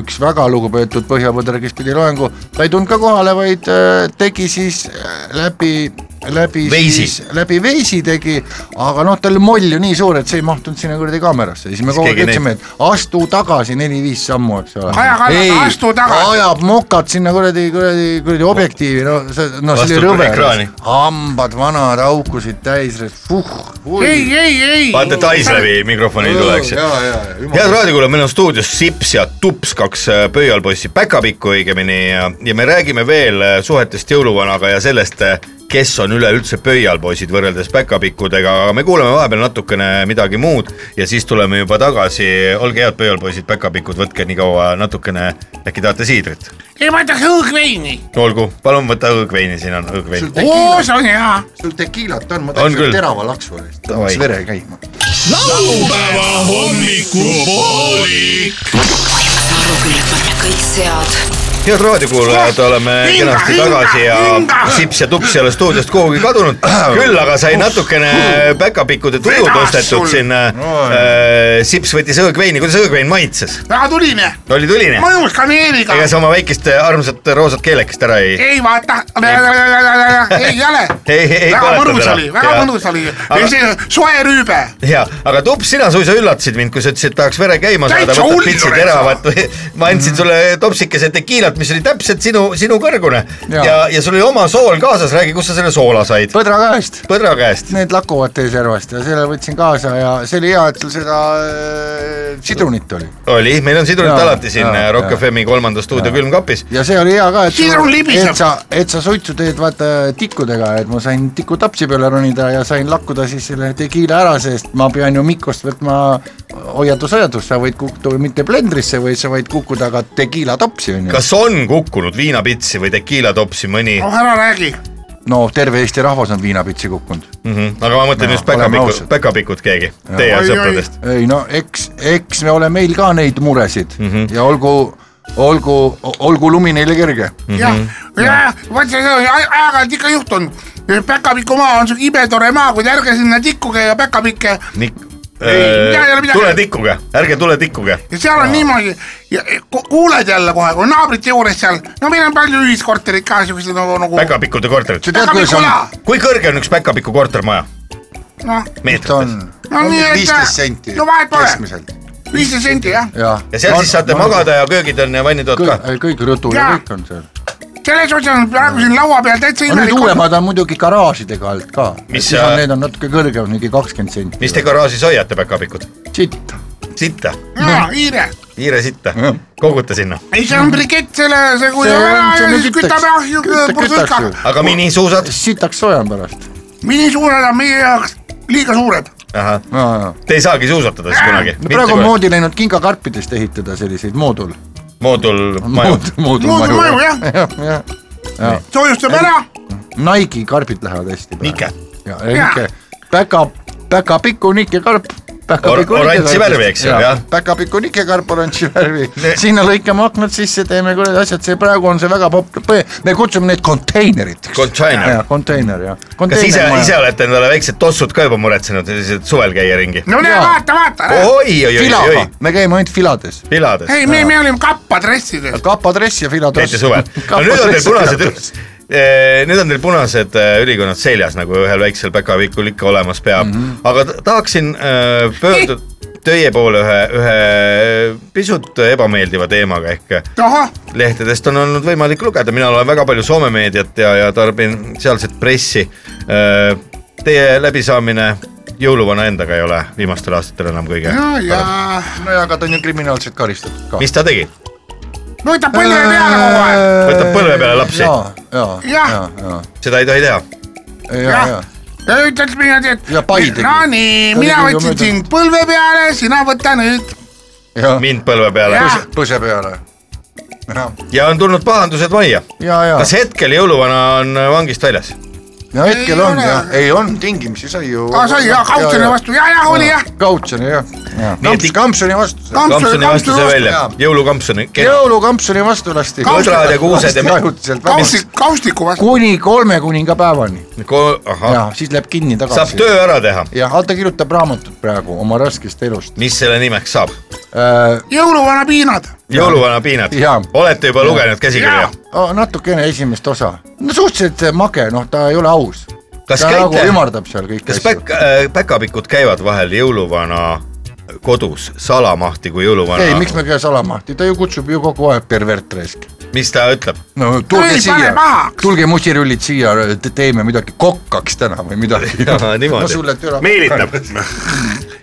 Speaker 3: üks väga lugupeetud põhjapõder , kes pidi loengu , ta ei tulnud ka kohale , vaid äh, tegi siis äh, läbi , läbi
Speaker 2: Veisi.
Speaker 3: siis , läbi veisi tegi , aga noh , tal oli moll ju nii suur , et see ei mahtunud sinna kuradi kaamerasse , siis me
Speaker 2: Siis
Speaker 3: kogu aeg
Speaker 2: keegi
Speaker 3: ütlesime , et astu tagasi neli-viis sammu , eks ole .
Speaker 8: Kaja Kallas, astu tagasi.
Speaker 3: ajab mokad sinna kuradi , kuradi , kuradi objektiivi , no see , no see
Speaker 2: Vastu
Speaker 3: oli rõve
Speaker 2: ekraani. ,
Speaker 3: hambad vanad aukusid täis , puh ,
Speaker 8: ei , ei , ei .
Speaker 2: vaata Tais läbi mikrofoni ei tuleks .
Speaker 3: ja , ja ,
Speaker 2: head raadiokuulajad , meil on stuudios Sips ja Tups , kaks äh, pöialpoissi päkapikku õigemini ja , ja me räägime veel äh, suhetest jõuluvanaga ja sellest , kes on üleüldse pöialpoisid võrreldes päkapikkudega , aga me kuulame vahepeal natukene midagi muud ja siis tuleme juba tagasi . olge head pöialpoisid , päkapikud , võtke nii kaua natukene , äkki tahate siidrit ?
Speaker 8: ei , ma ütleks õõgveini .
Speaker 2: olgu , palun võta õõgveini , siin on õõgvein .
Speaker 8: oo , see on hea .
Speaker 3: sul tekiilat on , ma
Speaker 2: On
Speaker 3: tahaks
Speaker 2: küll.
Speaker 3: terava laksu eest ,
Speaker 2: Davai.
Speaker 3: tahaks vere käima .
Speaker 6: laupäeva hommikupoolik .
Speaker 5: kõik sead
Speaker 2: head raadiokuulajad , oleme
Speaker 8: Hinga,
Speaker 2: kenasti
Speaker 8: hinga,
Speaker 2: tagasi ja
Speaker 8: hinga!
Speaker 2: Sips ja Tups ei ole stuudiost kuhugi kadunud . küll aga sai natukene päkapikkude tuju
Speaker 8: Vedas
Speaker 2: tõstetud
Speaker 8: sul.
Speaker 2: siin . Sips võttis õõgveini , kuidas õõgvein maitses ?
Speaker 8: väga tuline ,
Speaker 2: oli tuline ?
Speaker 8: mõjus kaneeliga .
Speaker 2: ega sa oma väikest äh, armsat roosat keelekest ära ei ?
Speaker 8: ei vaata , ei ole .
Speaker 2: Ei, ei
Speaker 8: väga
Speaker 2: põletanud
Speaker 8: mõnus
Speaker 2: ära.
Speaker 8: oli , väga
Speaker 2: Jaa.
Speaker 8: mõnus oli
Speaker 2: Aga- .
Speaker 8: soe rüübe .
Speaker 2: ja , aga Tups , sina suisa üllatasid mind , kui sa ütlesid , et tahaks vere käima saada ,
Speaker 8: Täitsa
Speaker 2: võtad
Speaker 8: hull
Speaker 2: pitsi
Speaker 8: oled
Speaker 2: teravat või ma andsin sulle topsikese tekiilat , mis oli täpselt sinu , sinu kõrgune ja,
Speaker 3: Jaa.
Speaker 2: ja , ja sul oli oma sool kaasas , räägi , kust sa selle soola said ?
Speaker 3: põdra käest ,
Speaker 2: põdra käest .
Speaker 3: need lakuvad teie servast ja selle võtsin kaasa ja see oli hea , et sul seda äh, sidrunit oli .
Speaker 2: oli , meil on sidrunit
Speaker 3: Jaa,
Speaker 2: alati siin äh,
Speaker 3: jaa,
Speaker 2: Rock
Speaker 3: jaa.
Speaker 2: FM-i kolmanda stuudio külmkapis .
Speaker 3: ja see oli hea ka ,
Speaker 8: Sidrun
Speaker 3: et ,
Speaker 8: libiseb.
Speaker 3: et sa , et sa suitsu teed vaata tikkudega , et ma sain tiku tapsi peale ronida ja sain lakkuda siis selle tekiila ära , sest ma pean ju Mikost võtma hoiatus , hoiatus , sa võid kukkuda mitte blendrisse , vaid sa võid kukkuda ka tekiila topsi onju .
Speaker 2: kas on kukkunud viinapitsi või tekiilatopsi mõni
Speaker 8: oh , ära räägi .
Speaker 3: no terve Eesti rahvas on viinapitsi kukkunud .
Speaker 2: mm ? -hmm. aga ma mõtlen
Speaker 3: Jaa,
Speaker 2: just
Speaker 3: oleme
Speaker 2: päkapikud
Speaker 3: ausad. ,
Speaker 2: päkapikud keegi teie
Speaker 8: Oi, oi.
Speaker 2: sõpradest .
Speaker 3: ei no eks , eks me ole meil ka neid muresid mm
Speaker 2: Mhm.
Speaker 3: -hmm. ja olgu , olgu , olgu lumi neile kerge .
Speaker 8: jah ,
Speaker 3: Mhm.
Speaker 8: ja vot see see aj- aeg-ajalt ikka juhtunud . Päkapiku maa on siuke ibe tore maa , kuid ärge sinna tikkuge ja päkapikke .
Speaker 2: Nik- ,
Speaker 8: midagi ei ole, midagi Oh. ei
Speaker 2: tule
Speaker 8: ole.
Speaker 2: tikkuge , ärge tule tikkuge .
Speaker 8: ja seal on niimoodi , kuuled jälle kohe , kui naabrite juures seal , no meil on palju ühiskorterid ka siukseid nagu , nagu .
Speaker 2: päkapikkute korterid .
Speaker 3: tead, kuidas on-
Speaker 2: kui kõrge on üks päkapiku kortermaja ?
Speaker 8: noh ,
Speaker 3: ta on
Speaker 8: No nii, et-
Speaker 3: viisteist senti
Speaker 8: no vahet pole.
Speaker 3: keskmiselt .
Speaker 8: viisteist senti jah ,
Speaker 3: ja
Speaker 2: ja seal siis saate magada ja köögid on ja vannitoad ka .
Speaker 3: kõik , kõik rõdu ja
Speaker 8: Jaa.
Speaker 3: kõik on seal .
Speaker 8: selles osas on praegu siin laua peal täitsa
Speaker 3: aga need
Speaker 8: imelik .
Speaker 3: uuemad on muidugi garaažidega alt ka .
Speaker 2: Mis
Speaker 3: siis on ,
Speaker 2: sa-
Speaker 3: need on natuke kõrgemad , mingi kakskümmend senti .
Speaker 2: mis te garaažis hoiate , päkapikud ?
Speaker 3: sitt .
Speaker 2: sitta ,
Speaker 3: Noh.
Speaker 8: jaa , hiire
Speaker 2: hiire sitta , kogute sinna .
Speaker 8: ei , see on brikett selle , see kui
Speaker 3: Mhm. See
Speaker 8: ta
Speaker 3: on-
Speaker 8: ära
Speaker 3: see
Speaker 8: ja
Speaker 3: on
Speaker 8: siis
Speaker 3: kütaks.
Speaker 8: kütame ahju
Speaker 3: Küta-
Speaker 8: pursuikaga
Speaker 3: kütaks .
Speaker 2: aga minisuusad ?
Speaker 3: sitaks soojem pärast .
Speaker 8: mini suured on meie jaoks liiga suured .
Speaker 2: ahah ,
Speaker 3: no
Speaker 2: te ei saagi suusatada
Speaker 8: Äh,
Speaker 2: siis kunagi .
Speaker 3: praegu on moodi läinud kingakarpidest ehitada selliseid moodul .
Speaker 2: moodul maju .
Speaker 8: Moodulmaju, jah.
Speaker 3: jah .
Speaker 8: soojustame ära ,
Speaker 3: Nike'i karbid lähevad hästi .
Speaker 2: Nike. .
Speaker 3: ja ja Nike , päka , päkapikku Nike karp
Speaker 2: Or- oranži värvi , eks ju , jah .
Speaker 3: päkapikunik ja karp oranži värvi , sinna lõikame aknad sisse , teeme kuradi asjad , see praegu on see väga popp- , me kutsume neid konteineriteks .
Speaker 2: Container.
Speaker 3: jah , konteiner jah .
Speaker 2: kas ise , ise olete endale väiksed tossud ka juba muretsenud , sellised suvel käia ringi ?
Speaker 8: no näe ,
Speaker 3: Jaa.
Speaker 8: vaata , vaata .
Speaker 2: oi , oi , oi , oi
Speaker 3: filaga ,, me käime ainult filades .
Speaker 2: pilades .
Speaker 8: ei , me , me olime kappadressides .
Speaker 3: kapadress ja filadress .
Speaker 2: käite suvel . no nüüd on teil punased , nüüd on teil punased eh, ülikonnad seljas , nagu ühel väiksel päkapikul ikka olemas peab mm , -hmm. aga ta- tahaksin eh, pöörduda teie poole ühe , ühe pisut ebameeldiva teemaga ehk eh,
Speaker 8: ahah ,
Speaker 2: lehtedest on olnud võimalik lugeda , mina loen väga palju Soome meediat ja , ja tarbin sealset pressi . Teie läbisaamine jõuluvana endaga ei ole viimastel aastatel enam kõige
Speaker 8: no ja ,
Speaker 3: nojah , aga ta on ju kriminaalselt karistatud ka .
Speaker 2: mis ta tegi ?
Speaker 8: no ta põlve peale kogu aeg .
Speaker 2: Võtab põlve peale lapsi.
Speaker 3: ja , ja , ja
Speaker 8: Jah. ,
Speaker 3: ja ,
Speaker 2: seda ei tohi teha .
Speaker 3: ja ,
Speaker 8: jah
Speaker 3: ja ,
Speaker 8: ja ütled niimoodi , et
Speaker 3: Ja pai tegi.
Speaker 8: no nii ,
Speaker 3: Ta
Speaker 8: mina
Speaker 3: tegi ju
Speaker 8: võtsin
Speaker 3: mööda-
Speaker 8: sind põlve peale , sina võta nüüd .
Speaker 3: ja ,
Speaker 2: mind põlve peale
Speaker 8: Jah.
Speaker 3: põse peale . ja ,
Speaker 2: ja on tulnud pahandused majja .
Speaker 3: ja , ja ,
Speaker 2: kas hetkel jõuluvana on vangist väljas ?
Speaker 3: ja hetkel
Speaker 8: Ei
Speaker 3: on
Speaker 8: ole.
Speaker 3: jah , ei on tingimisi sai ju .
Speaker 8: aa , sai jah , kautsjoni vastu , ja , ja oli jah .
Speaker 3: kautsjoni jah ,
Speaker 2: Nii
Speaker 3: ja
Speaker 2: et
Speaker 3: Kamps,
Speaker 2: ik-
Speaker 3: kampsuni vastu .
Speaker 2: kampsuni vastu sai välja
Speaker 3: jaa. ,
Speaker 2: jõulukampsuni .
Speaker 3: jõulukampsuni vastu lasti .
Speaker 2: Põdrad ja kuused ja-
Speaker 3: ajutiselt
Speaker 8: kausti ,
Speaker 3: välja .
Speaker 8: kaustiku vastu .
Speaker 3: kuni kolme kuningapäevani
Speaker 2: saab
Speaker 3: ja siis läheb kinni tagasi .
Speaker 2: Ah. töö ära teha ,
Speaker 3: jah , ta kirjutab raamatut praegu oma raskest elust
Speaker 2: mis selle nimeks saab ?
Speaker 3: äh, .
Speaker 8: jõuluvana piinad .
Speaker 2: jõuluvana piinad
Speaker 3: Jaa. ,
Speaker 2: olete juba lugenud käsikirja
Speaker 8: Jaa. ?
Speaker 3: natukene esimest osa , no suhteliselt mage , noh , ta ei ole aus .
Speaker 2: Kas
Speaker 3: ta
Speaker 2: käite-
Speaker 3: nagu ümardab seal kõiki
Speaker 2: kas
Speaker 3: asju .
Speaker 2: päkk- , päkapikud käivad vahel jõuluvana kodus salamahti , kui
Speaker 3: ei , miks
Speaker 2: jõuluvana ,
Speaker 3: me käi salamahti , ta ju kutsub ju kogu aeg pervert raisk .
Speaker 2: mis ta ütleb ?
Speaker 3: no tulge
Speaker 8: Ei, pane
Speaker 3: siia
Speaker 8: pahaks. ,
Speaker 3: tulge musirullid siia , teeme midagi kokkaks täna või midagi .
Speaker 2: Jaa, niimoodi.
Speaker 3: no sulle türa .
Speaker 2: meelitab ,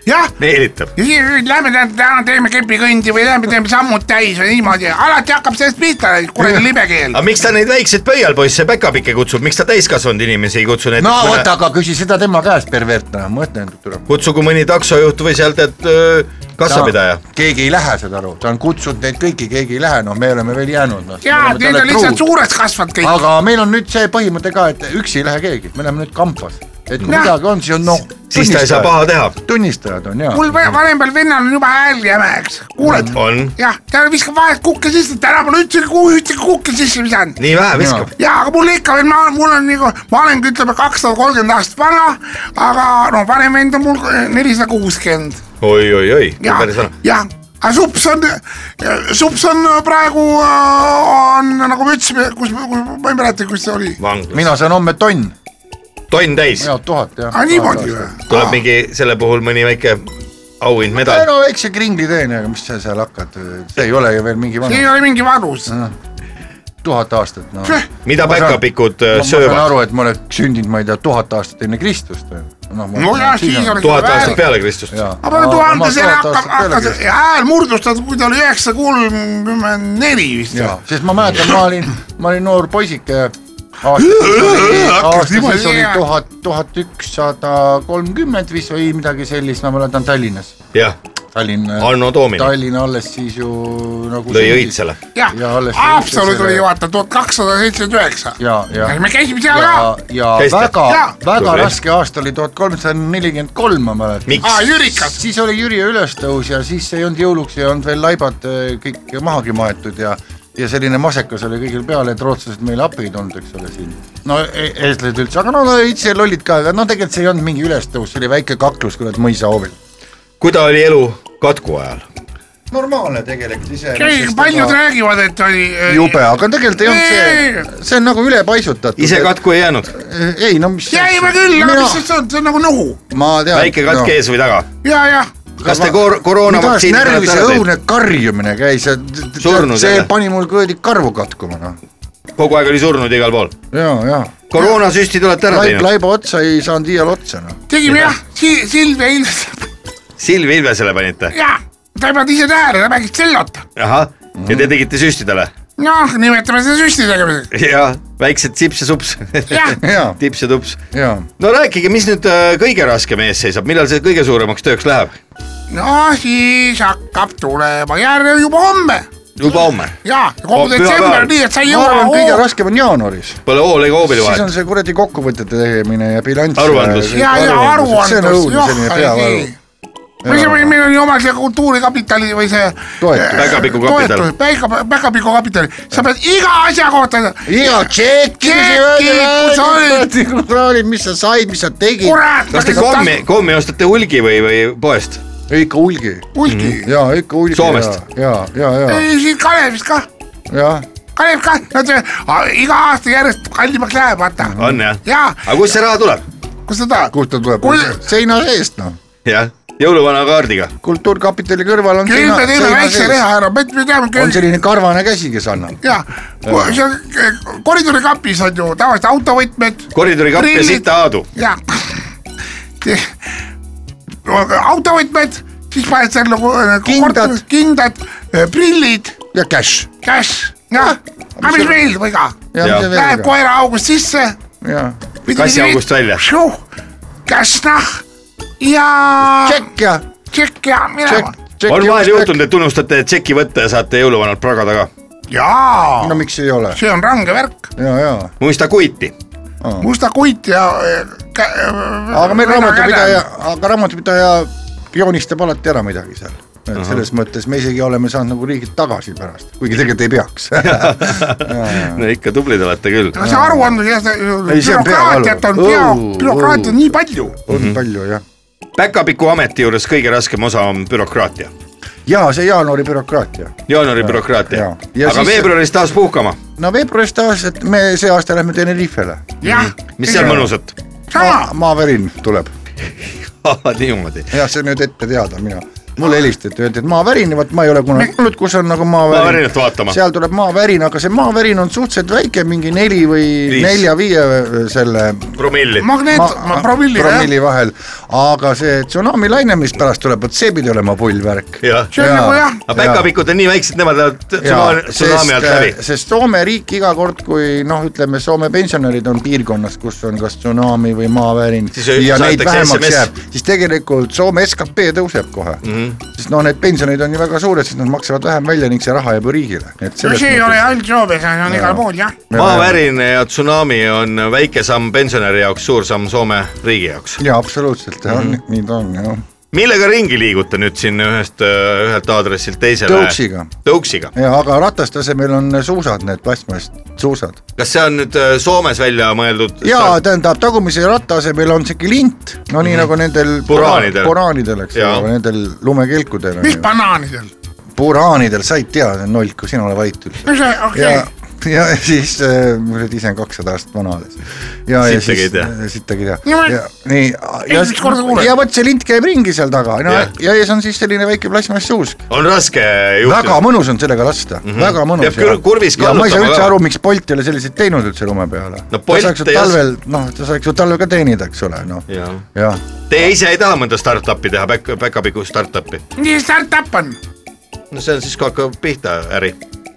Speaker 8: jah ,
Speaker 2: meelitab .
Speaker 8: ja siis nüüd lähme tähendab , täna teeme kepikõndi või lähme teeme sammud täis või niimoodi , alati hakkab sellest pihta , kuradi libekeel
Speaker 2: aga . miks ta neid väikseid pöialpoisse päkapikke kutsub , miks ta täiskasvanud inimesi ei kutsu
Speaker 3: no
Speaker 2: näiteks
Speaker 3: vot , aga küsi seda tema käest , pervert , noh , mõtle enda türa .
Speaker 2: kutsugu mõni taksojuht või sealt , et öö, kassapidaja .
Speaker 3: keegi ei lähe , saad aru , ta on kutsunud neid kõiki , keegi ei lähe , noh , me oleme veel jäänud , noh .
Speaker 8: ja , need on lihtsalt suureks kasvanud kõik .
Speaker 3: aga meil on nüüd see põhimõte ka , et üksi ei lähe keegi , me oleme nüüd kampas , et kui
Speaker 8: Jah.
Speaker 3: midagi on , siis on noh .
Speaker 2: siis ta ei saa paha teha .
Speaker 3: tunnistajad on ja .
Speaker 8: mul va- vanemal vennal on juba hääl jäme , eks , kuuled ?
Speaker 2: on ,
Speaker 8: jah , ta viskab vahest kukke sisse , täna pole üldse ku- ühtegi kukke sisse visanud .
Speaker 2: nii vähe viskab .
Speaker 8: jaa , aga mul ikka veel , ma , mul on nagu , ma olengi , ütleme , kakssada kolmkümmend aastat vana , aga no vanem vend on mul eh, nelisada kuuskümmend .
Speaker 2: oi-oi-oi ,
Speaker 8: jah
Speaker 2: päris vana ,.
Speaker 8: jah , aga sups on , sups on eh, praegu äh, on , nagu me ütlesime , kus , ma ei mäleta , kus see oli .
Speaker 2: vanglas ,
Speaker 3: mina saan homme tonn ,
Speaker 2: tonn täis ,
Speaker 3: ja tuhat jah .
Speaker 8: aa , niimoodi või ?
Speaker 2: tuleb mingi selle puhul mõni väike auhind ,
Speaker 3: ei
Speaker 2: medal .
Speaker 3: no väikse kringli teen , aga mis sa seal hakkad , see ei ole ju veel mingi
Speaker 8: ei
Speaker 3: vana ,
Speaker 8: ole mingi vanus .
Speaker 3: tuhat aastat noh .
Speaker 2: mida
Speaker 3: ma saan-
Speaker 2: päkapikud öö,
Speaker 3: ma saan
Speaker 2: äh, söövad ?
Speaker 3: aru , et ma olen sündinud , ma ei tea , tuhat aastat enne Kristust või ?
Speaker 8: nojah , siis oleks
Speaker 2: tuhat aastat . peale Kristust .
Speaker 8: ma pean tuhande selle hakkab , hakkas hääl murdustati , kui ta oli üheksakümmend neli vist .
Speaker 3: jaa , sest ma mäletan , ma olin , ma olin noor äh, poisike .
Speaker 8: Äh, Hakkas
Speaker 3: aastas
Speaker 8: niimoodi.
Speaker 3: oli tuhat , tuhat ükssada kolmkümmend vist või midagi sellist , ma mäletan Tallinnas .
Speaker 2: jah ,
Speaker 3: Tallinn ,
Speaker 2: Anno Domini
Speaker 3: Tallinn alles siis ju nagu .
Speaker 2: lõi . õitsele .
Speaker 8: jah
Speaker 3: Ja alles ,
Speaker 8: Haapsalu
Speaker 3: selle-
Speaker 8: tuli vaata tuhat kakssada seitsekümmend üheksa .
Speaker 3: ja , ja ,
Speaker 8: me käisime seal
Speaker 3: ja
Speaker 8: ka ,,
Speaker 3: ja
Speaker 2: Käisite?
Speaker 3: väga
Speaker 8: Jaa. ,
Speaker 3: väga
Speaker 2: Tubli.
Speaker 3: raske aasta oli tuhat kolmsada nelikümmend kolm , ma mäletan .
Speaker 2: miks ?
Speaker 8: aa Jürikas ,
Speaker 3: siis oli Jüri ülestõus ja siis ei olnud jõuluks , ei olnud veel laibad öö, kõik mahagi maetud ja ja selline masekas oli kõigil peal , et rootslased meile appi ei tulnud , eks ole , siin . no e- eestlased üldse , aga no, no ise lollid ka , aga no tegelikult see ei olnud mingi ülestõus , see oli väike kaklus , kurat , mõisahoovil .
Speaker 2: kui ta oli elu katku ajal ,
Speaker 3: normaalne tegelikult ise .
Speaker 8: paljud räägivad , et oli . e,
Speaker 3: jube , aga tegelikult ei olnud see , see on nagu ülepaisutatud .
Speaker 2: ise katku ei jäänud ,
Speaker 3: ei no mis .
Speaker 8: jäime küll , aga mis siis on , see on nagu nohu
Speaker 3: ma tean .
Speaker 2: väike katk . ees või taga .
Speaker 8: ja , jah .
Speaker 2: kas te kor- , koroonavaktsiini
Speaker 3: närvise õudne karjumine käis ja t- t-
Speaker 2: Surnud
Speaker 3: see
Speaker 2: jälle.
Speaker 3: pani mul kuradi karvu katkuma noh .
Speaker 2: kogu aeg oli surnud igal pool .
Speaker 3: ja , ja
Speaker 2: koroonasüstid olete ära
Speaker 3: Laib,
Speaker 2: teinud ?
Speaker 3: laiba otsa ei saanud iial otsa noh .
Speaker 8: tegime jah , Silvia Ilves ,
Speaker 2: Silvi Ilvesele panite ?
Speaker 8: jah , ta ei pannud ise tähele , ta mängis tsellot .
Speaker 2: ahah , ja te tegite süsti talle ?
Speaker 8: noh , nimetame seda süsti tegemiseks ,
Speaker 2: jah , väiksed sips ja sups ,
Speaker 8: jah .
Speaker 3: ja ,
Speaker 2: tips ja tups .
Speaker 3: ja
Speaker 2: no rääkige , mis nüüd äh, kõige raskem ees seisab , millal see kõige suuremaks tööks läheb ?
Speaker 8: no siis hakkab tulema järg juba homme
Speaker 2: juba homme ,
Speaker 8: ja
Speaker 2: Oh,
Speaker 8: kogu
Speaker 2: pühapäev.
Speaker 8: detsember , nii et sa ei
Speaker 3: ma
Speaker 8: jõua
Speaker 3: arvan , kõige . raskem on jaanuaris .
Speaker 2: pole hool ega hoobili
Speaker 3: siis on
Speaker 2: vahet .
Speaker 3: see kuradi kokkuvõtete tegemine ja bilanss .
Speaker 2: Aruandlus.
Speaker 8: ja , ja aruandlus ,
Speaker 3: see on õudne selline
Speaker 8: joh ,
Speaker 3: peavalu .
Speaker 8: ei , meil oli oma see kultuurikapitali või see .
Speaker 3: Toetus.
Speaker 2: Päkapiku kapital. .
Speaker 8: päika , päkapiku kapital , sa pead iga asja kohta ,
Speaker 3: iga tšeki ,
Speaker 8: Tšeki, kus sa olid?
Speaker 3: kus sa olid , mis sa said , mis sa tegid .
Speaker 8: kurat .
Speaker 2: kas te Mm. kommi ,? kommi ostate hulgi või , või poest ?
Speaker 3: ikka hulgi
Speaker 8: hulgi ,
Speaker 3: ja ikka hulgi .
Speaker 2: Soomest. .
Speaker 3: ja , ja , ja ,
Speaker 8: ei siin Kalevist kah ,
Speaker 3: jah .
Speaker 8: Kalev kah , nad a- iga aasta järjest kallimaks läheb , vaata .
Speaker 2: on jah ?
Speaker 8: ja ,
Speaker 2: aga kust see raha tuleb ?
Speaker 8: kus sa tahad ,
Speaker 3: kust ta tuleb
Speaker 8: Kul- ?
Speaker 3: seina seest noh ,
Speaker 2: jah , jõuluvana kaardiga .
Speaker 3: kultuurkapitali kõrval on
Speaker 8: küll me teeme väikse reha ära , me me teame
Speaker 3: on
Speaker 8: küll
Speaker 3: selline karvane käsi , kes annab .
Speaker 8: ja see on eh, koridorikapis on ju tavaliselt autovõtmed
Speaker 2: koridori kapp ja
Speaker 8: Prillid.
Speaker 2: sita Aadu .
Speaker 8: ja autovõtmed , siis paned seal nagu
Speaker 3: Kindad. ,
Speaker 8: kindad , prillid ,
Speaker 3: ja cash .
Speaker 8: cash ,
Speaker 3: Ah,
Speaker 8: jah , aga mis meil viga ,
Speaker 2: Jah.
Speaker 8: läheb koera august sisse .
Speaker 2: Kassi august välja. .
Speaker 8: käsnah noh, ja
Speaker 3: tšekk ja ,
Speaker 8: tšekk ja minema
Speaker 3: tšekk , tšekk .
Speaker 2: on vahel juhtunud , et unustate tšeki võtta ja saate jõuluvanalt praga taga .
Speaker 8: jaa
Speaker 3: no miks ei ole ?
Speaker 8: see on range värk ,
Speaker 3: ja , ja ,
Speaker 2: muista kuiti .
Speaker 8: musta kuit ja .
Speaker 3: Ah.
Speaker 8: äh,
Speaker 3: aga meil raamatupidaja , aga raamatupidaja joonistab alati ära midagi seal . et selles mõttes me isegi oleme saanud nagu riigilt tagasi pärast , kuigi tegelikult ei peaks .
Speaker 2: no ikka tublid olete küll .
Speaker 8: aga see aruandlus ja see
Speaker 3: Ei, see on
Speaker 8: bürokraatiat on
Speaker 3: peavalu.
Speaker 8: pea
Speaker 3: Õu, ,
Speaker 8: bürokraatiat
Speaker 3: õu.
Speaker 8: on nii palju .
Speaker 3: on palju jah .
Speaker 2: päkapiku ameti juures kõige raskem osa on bürokraatia ,
Speaker 3: ja see jaanuari bürokraatia
Speaker 2: jaanuari bürokraatia
Speaker 3: jaa. . Ja
Speaker 2: aga
Speaker 3: siis-
Speaker 2: veebruaris taas puhkama ,
Speaker 3: no veebruarist taas , et me see aasta lähme Tenerifele .
Speaker 8: jah ,
Speaker 2: mis seal mõnusat ?
Speaker 3: Ah.
Speaker 8: sama ,
Speaker 3: maavärin tuleb ,
Speaker 2: niimoodi ,
Speaker 3: jah , see on nüüd ette teada , mina , mulle helistati , öeldi , et maavärin , vot ma ei ole kunagi olnud , kus on nagu maavärin
Speaker 2: Maavärinat . vaatama.
Speaker 3: seal tuleb maavärin , aga see maavärin on suhteliselt väike , mingi neli või
Speaker 2: Viis.
Speaker 3: nelja-viie selle
Speaker 2: promilli .
Speaker 8: magneet , promilliga jah ,
Speaker 3: promilli vahel , aga see tsunami laine , mis pärast tuleb , vot see pidi olema pull värk .
Speaker 2: jah ,
Speaker 8: see on
Speaker 3: jaa.
Speaker 8: nagu jah ,
Speaker 2: aga päkapikud on nii väiksed , nemad lähevad tsuna- tsunami alt läbi .
Speaker 3: sest Soome riik iga kord , kui noh , ütleme Soome pensionärid on piirkonnas , kus on kas tsunami või maavärin
Speaker 2: Siis ei-
Speaker 3: ja neid
Speaker 2: saadetakse
Speaker 3: vähemaks
Speaker 2: SMS. Mhm.
Speaker 3: jääb , siis tegelikult Soome skp tõuseb kohe mm . -hmm. sest noh , need pensionid on ju väga suured , siis nad maksavad vähem välja ning see raha jääb ju riigile , et
Speaker 8: no
Speaker 3: selles
Speaker 8: see ei ole ainult Soomes , see on igal pool jah .
Speaker 2: maavärin ja tsunami on väike samm pensionäri jaoks , suur samm Soome riigi jaoks .
Speaker 3: jaa , absoluutselt ,
Speaker 2: Mhm.
Speaker 3: nii ta on jah ,
Speaker 2: millega ringi liigute nüüd siin ühest , ühelt aadressilt teisele ?
Speaker 3: tõuksiga .
Speaker 2: tõuksiga ,
Speaker 3: ja aga ratastasemel on suusad , need plastmassist suusad .
Speaker 2: kas see on nüüd äh, Soomes välja mõeldud ?
Speaker 3: ja tähendab , tagumise ratta asemel on siuke lint , no nii nagu nendel
Speaker 2: Puraanidel.
Speaker 3: puraanidel , eks
Speaker 2: Jaa.
Speaker 3: ole , nendel lumekelkudel .
Speaker 8: mis banaanidel ,
Speaker 3: puraanidel , sa ei tea , see on nolk , sina ole vait üldse .
Speaker 8: no see , okei
Speaker 3: ja , ja siis äh, , ma olin ise kakssada aastat vana alles . ja , ja
Speaker 2: Sittagi ei
Speaker 3: siis
Speaker 2: tea. ,
Speaker 3: sittagi ei
Speaker 8: No
Speaker 3: tea
Speaker 8: ma- .
Speaker 3: nii , ja
Speaker 8: Esimest korda kuulen. ,
Speaker 3: ja vot see lint käib ringi seal taga , no
Speaker 2: Jah.
Speaker 3: ja ees on siis selline väike plastmasssuusk .
Speaker 2: on raske
Speaker 3: väga
Speaker 2: juhtida .
Speaker 3: mõnus on sellega lasta mm , -hmm. väga mõnus .
Speaker 2: Mhm. Peab kür- kurvis
Speaker 3: ja ma ei saa
Speaker 2: kallutama
Speaker 3: üldse
Speaker 2: ka.
Speaker 3: aru , miks Bolt ei ole selliseid teinud üldse lume peale
Speaker 2: No Bolt
Speaker 3: ta saaks ju
Speaker 2: ei os-
Speaker 3: talvel , noh , ta saaks ju talvel ka teenida , eks ole , noh .
Speaker 2: Jaa.
Speaker 3: jah ,
Speaker 2: Teie ise ei taha mõnda startup'i teha , back , back-up'i startup'i ?
Speaker 8: nii startup on ,
Speaker 2: no see on siis , kui hakkab pihta äri .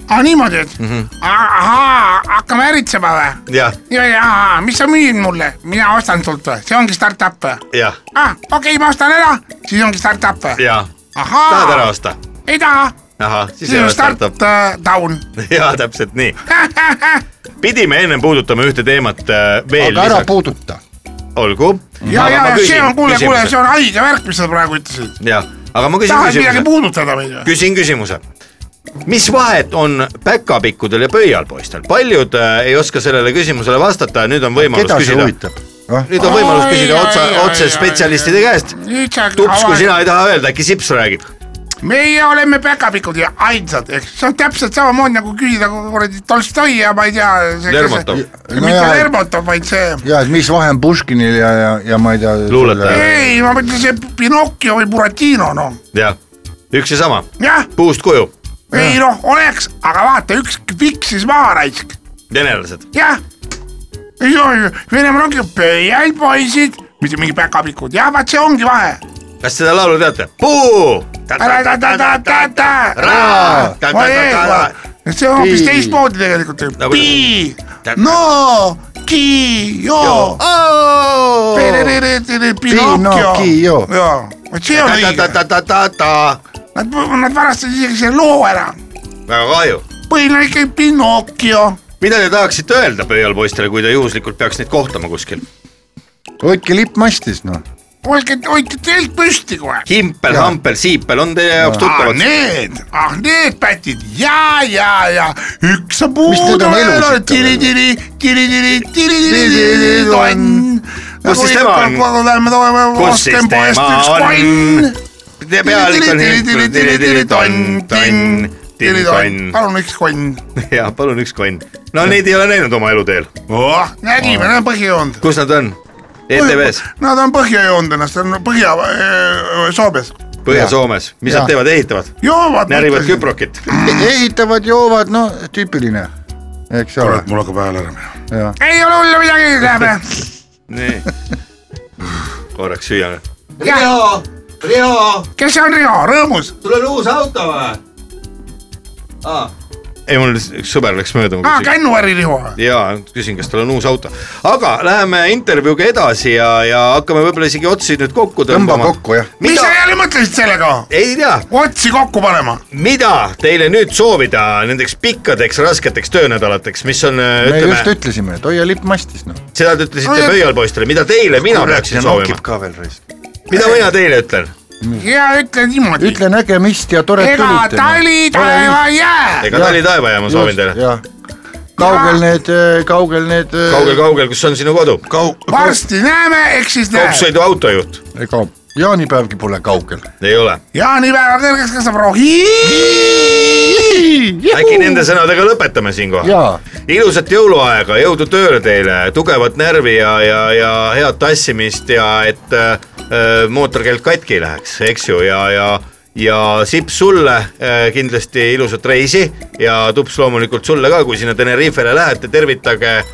Speaker 8: aa Ah, niimoodi , et
Speaker 2: Mhm.
Speaker 8: Ah, ahaa , hakkame äritsema või ?
Speaker 2: jah ,
Speaker 8: ja , ja mis sa müüd mulle , mina ostan sult või , see ongi startup või ?
Speaker 2: jah ,
Speaker 8: ah , okei okay, , ma ostan ära , siis ongi startup või ?
Speaker 2: jah . tahad ära
Speaker 8: ahaa ,
Speaker 2: osta ?
Speaker 8: ei taha ,
Speaker 2: ahah , siis
Speaker 8: siis
Speaker 2: ei
Speaker 8: on
Speaker 2: ole
Speaker 8: start
Speaker 2: startup .
Speaker 8: äh, down .
Speaker 2: jaa , täpselt nii . pidime ennem puudutama ühte teemat äh, veel
Speaker 3: aga ära
Speaker 2: lisaks .
Speaker 3: puuduta .
Speaker 2: olgu .
Speaker 8: ja , ja , ja see on , kuule , kuule , see on haige värk , mis sa praegu ütlesid .
Speaker 2: jah , aga ma küsin
Speaker 8: tahad midagi
Speaker 2: küsimuse ,
Speaker 8: puudutada või ?
Speaker 2: küsin küsimuse . mis vahet on päkapikkudel ja pöialpoistel , paljud äh, ei oska sellele küsimusele vastata ja nüüd on võimalus
Speaker 3: keda see
Speaker 2: küsida .
Speaker 3: huvitab ? Ah.
Speaker 2: nüüd on võimalus
Speaker 8: Ai,
Speaker 2: küsida
Speaker 8: ai,
Speaker 2: otsa
Speaker 8: ai, , ai,
Speaker 2: otse spetsialistide käest .
Speaker 8: nüüd sa
Speaker 2: tups , kui sina . ei taha öelda , äkki Sips räägib .
Speaker 8: meie oleme päkapikud ja ainsad , eks see on täpselt samamoodi nagu küsida kui kuradi Tolstoi ja ma ei tea .
Speaker 2: Lermontov .
Speaker 3: No
Speaker 8: mitte
Speaker 3: jaa.
Speaker 8: Lermontov , vaid see .
Speaker 3: ja , et mis vahe on Puškinil ja , ja , ja ma ei tea .
Speaker 2: Luuletaja.
Speaker 8: ei , ma mõtlen see Pinocchio või Buratino , noh .
Speaker 2: jah , üks ja sama ,
Speaker 8: jah ,
Speaker 2: puust kuju ,
Speaker 8: ei noh , oleks , aga vaata , üks fiksis maha raisk
Speaker 2: venelased .
Speaker 8: jah , ei ole , Venemaal ongi pöial poisid , mitte mingi päkapikud , jah , vaat see ongi vahe .
Speaker 2: kas seda laulu teate ? puu .
Speaker 8: see on hoopis teistmoodi tegelikult ju .
Speaker 2: Nagu-
Speaker 8: pii , no , ki , jo . Pinocchio
Speaker 3: Pinocchio. .
Speaker 8: jaa , vot see on õige . Nad , nad varastasid isegi selle loo ära .
Speaker 2: väga kahju .
Speaker 8: põhiline on ikkagi Pinocchio .
Speaker 2: mida te tahaksite öelda pöialpoistele , kui te juhuslikult peaks neid kohtama kuskil ?
Speaker 3: hoidke lipp mastis , noh .
Speaker 8: hoidke , hoidke telk püsti kohe .
Speaker 2: himpel , hampel , siipel on teie jaoks
Speaker 4: ah
Speaker 2: tuttavad .
Speaker 4: need ,
Speaker 8: ah need pätid ja , ja , ja üks on
Speaker 3: Mis need
Speaker 8: puudu
Speaker 3: on
Speaker 8: veel
Speaker 3: elus
Speaker 8: on
Speaker 3: ikka
Speaker 8: tiri-tiri , tiri-tiri , tiri-tiri , tonn .
Speaker 2: Kus siis tema on? Kus siis tema on ? pealik on himpel , tiri-tiri-tonn , tonn , tiri-tonn .
Speaker 8: palun üks konn ,
Speaker 2: ja palun üks konn . no neid ei ole näinud oma eluteel .
Speaker 8: oh nägime , need on põhjajoond .
Speaker 2: kus nad on ? ETV-s ,
Speaker 8: Nad on põhja joonud ennast , on põhja äh, Soobes ,
Speaker 2: Põhja-Soomes , mis
Speaker 3: Jaa.
Speaker 2: nad teevad , ehitavad ,
Speaker 8: joovad .
Speaker 2: närivad . küprokit .
Speaker 3: E-, ehitavad , joovad , no tüüpiline , eks ole
Speaker 4: kurat , mul hakkab hääl ära minema .
Speaker 3: jah .
Speaker 8: ei ole hullu midagi , lähme .
Speaker 2: nii , korraks süüa .
Speaker 8: Riho , Riho . kes see on Riho , rõõmus ?
Speaker 2: ei , mul üks sõber läks mööda .
Speaker 8: aa , Kännuäri Riho .
Speaker 2: ja küsin , kas tal on uus auto , aga läheme intervjuuga edasi ja , ja hakkame võib-olla isegi otsi nüüd kokku
Speaker 3: tõmba
Speaker 2: tõmbama .
Speaker 3: kokku jah .
Speaker 8: mis
Speaker 2: mida
Speaker 8: sa , jälle mõtlesid sellega ?
Speaker 2: ei tea ,
Speaker 8: otsi kokku panema .
Speaker 2: mida teile nüüd soovida nendeks pikkadeks rasketeks töönädalateks , mis on ,
Speaker 3: me
Speaker 2: ütleme
Speaker 3: just , ütlesime , et hoia lipp mastis noh .
Speaker 2: seda te ütlesite
Speaker 8: Oi,
Speaker 2: pöialpoistele , mida teile mina peaksin soovima ,
Speaker 9: ka veel raisk .
Speaker 2: mida mina teile ütlen ,
Speaker 8: ja ütle niimoodi .
Speaker 3: ütle nägemist ja tore
Speaker 8: ega
Speaker 3: tulite .
Speaker 8: tali taeva jää .
Speaker 2: ega
Speaker 3: Jah.
Speaker 2: tali taeva ja ma soovin teile ,
Speaker 3: kaugel need , kaugel need . eh,
Speaker 2: kaugel-kaugel , kus on sinu kodu ,
Speaker 8: varsti näeme , eks siis näeme .
Speaker 2: kaugsõidu autojuht
Speaker 3: ega jaanipäevgi pole kaugel .
Speaker 2: ei ole ,
Speaker 8: jaanipäeva kõrgeks kasvab rohi .
Speaker 2: äkki nende sõnadega lõpetame siinkohal .
Speaker 3: jaa ,
Speaker 2: ilusat jõuluaega , jõudu tööle teile , tugevat närvi ja , ja , ja head tassimist ja et äh, mootorkelk katki ei läheks , eks ju , ja , ja ja Sips sulle äh, kindlasti ilusat reisi ja Tups loomulikult sulle ka , kui sinna Tenerifele lähete , tervitage äh,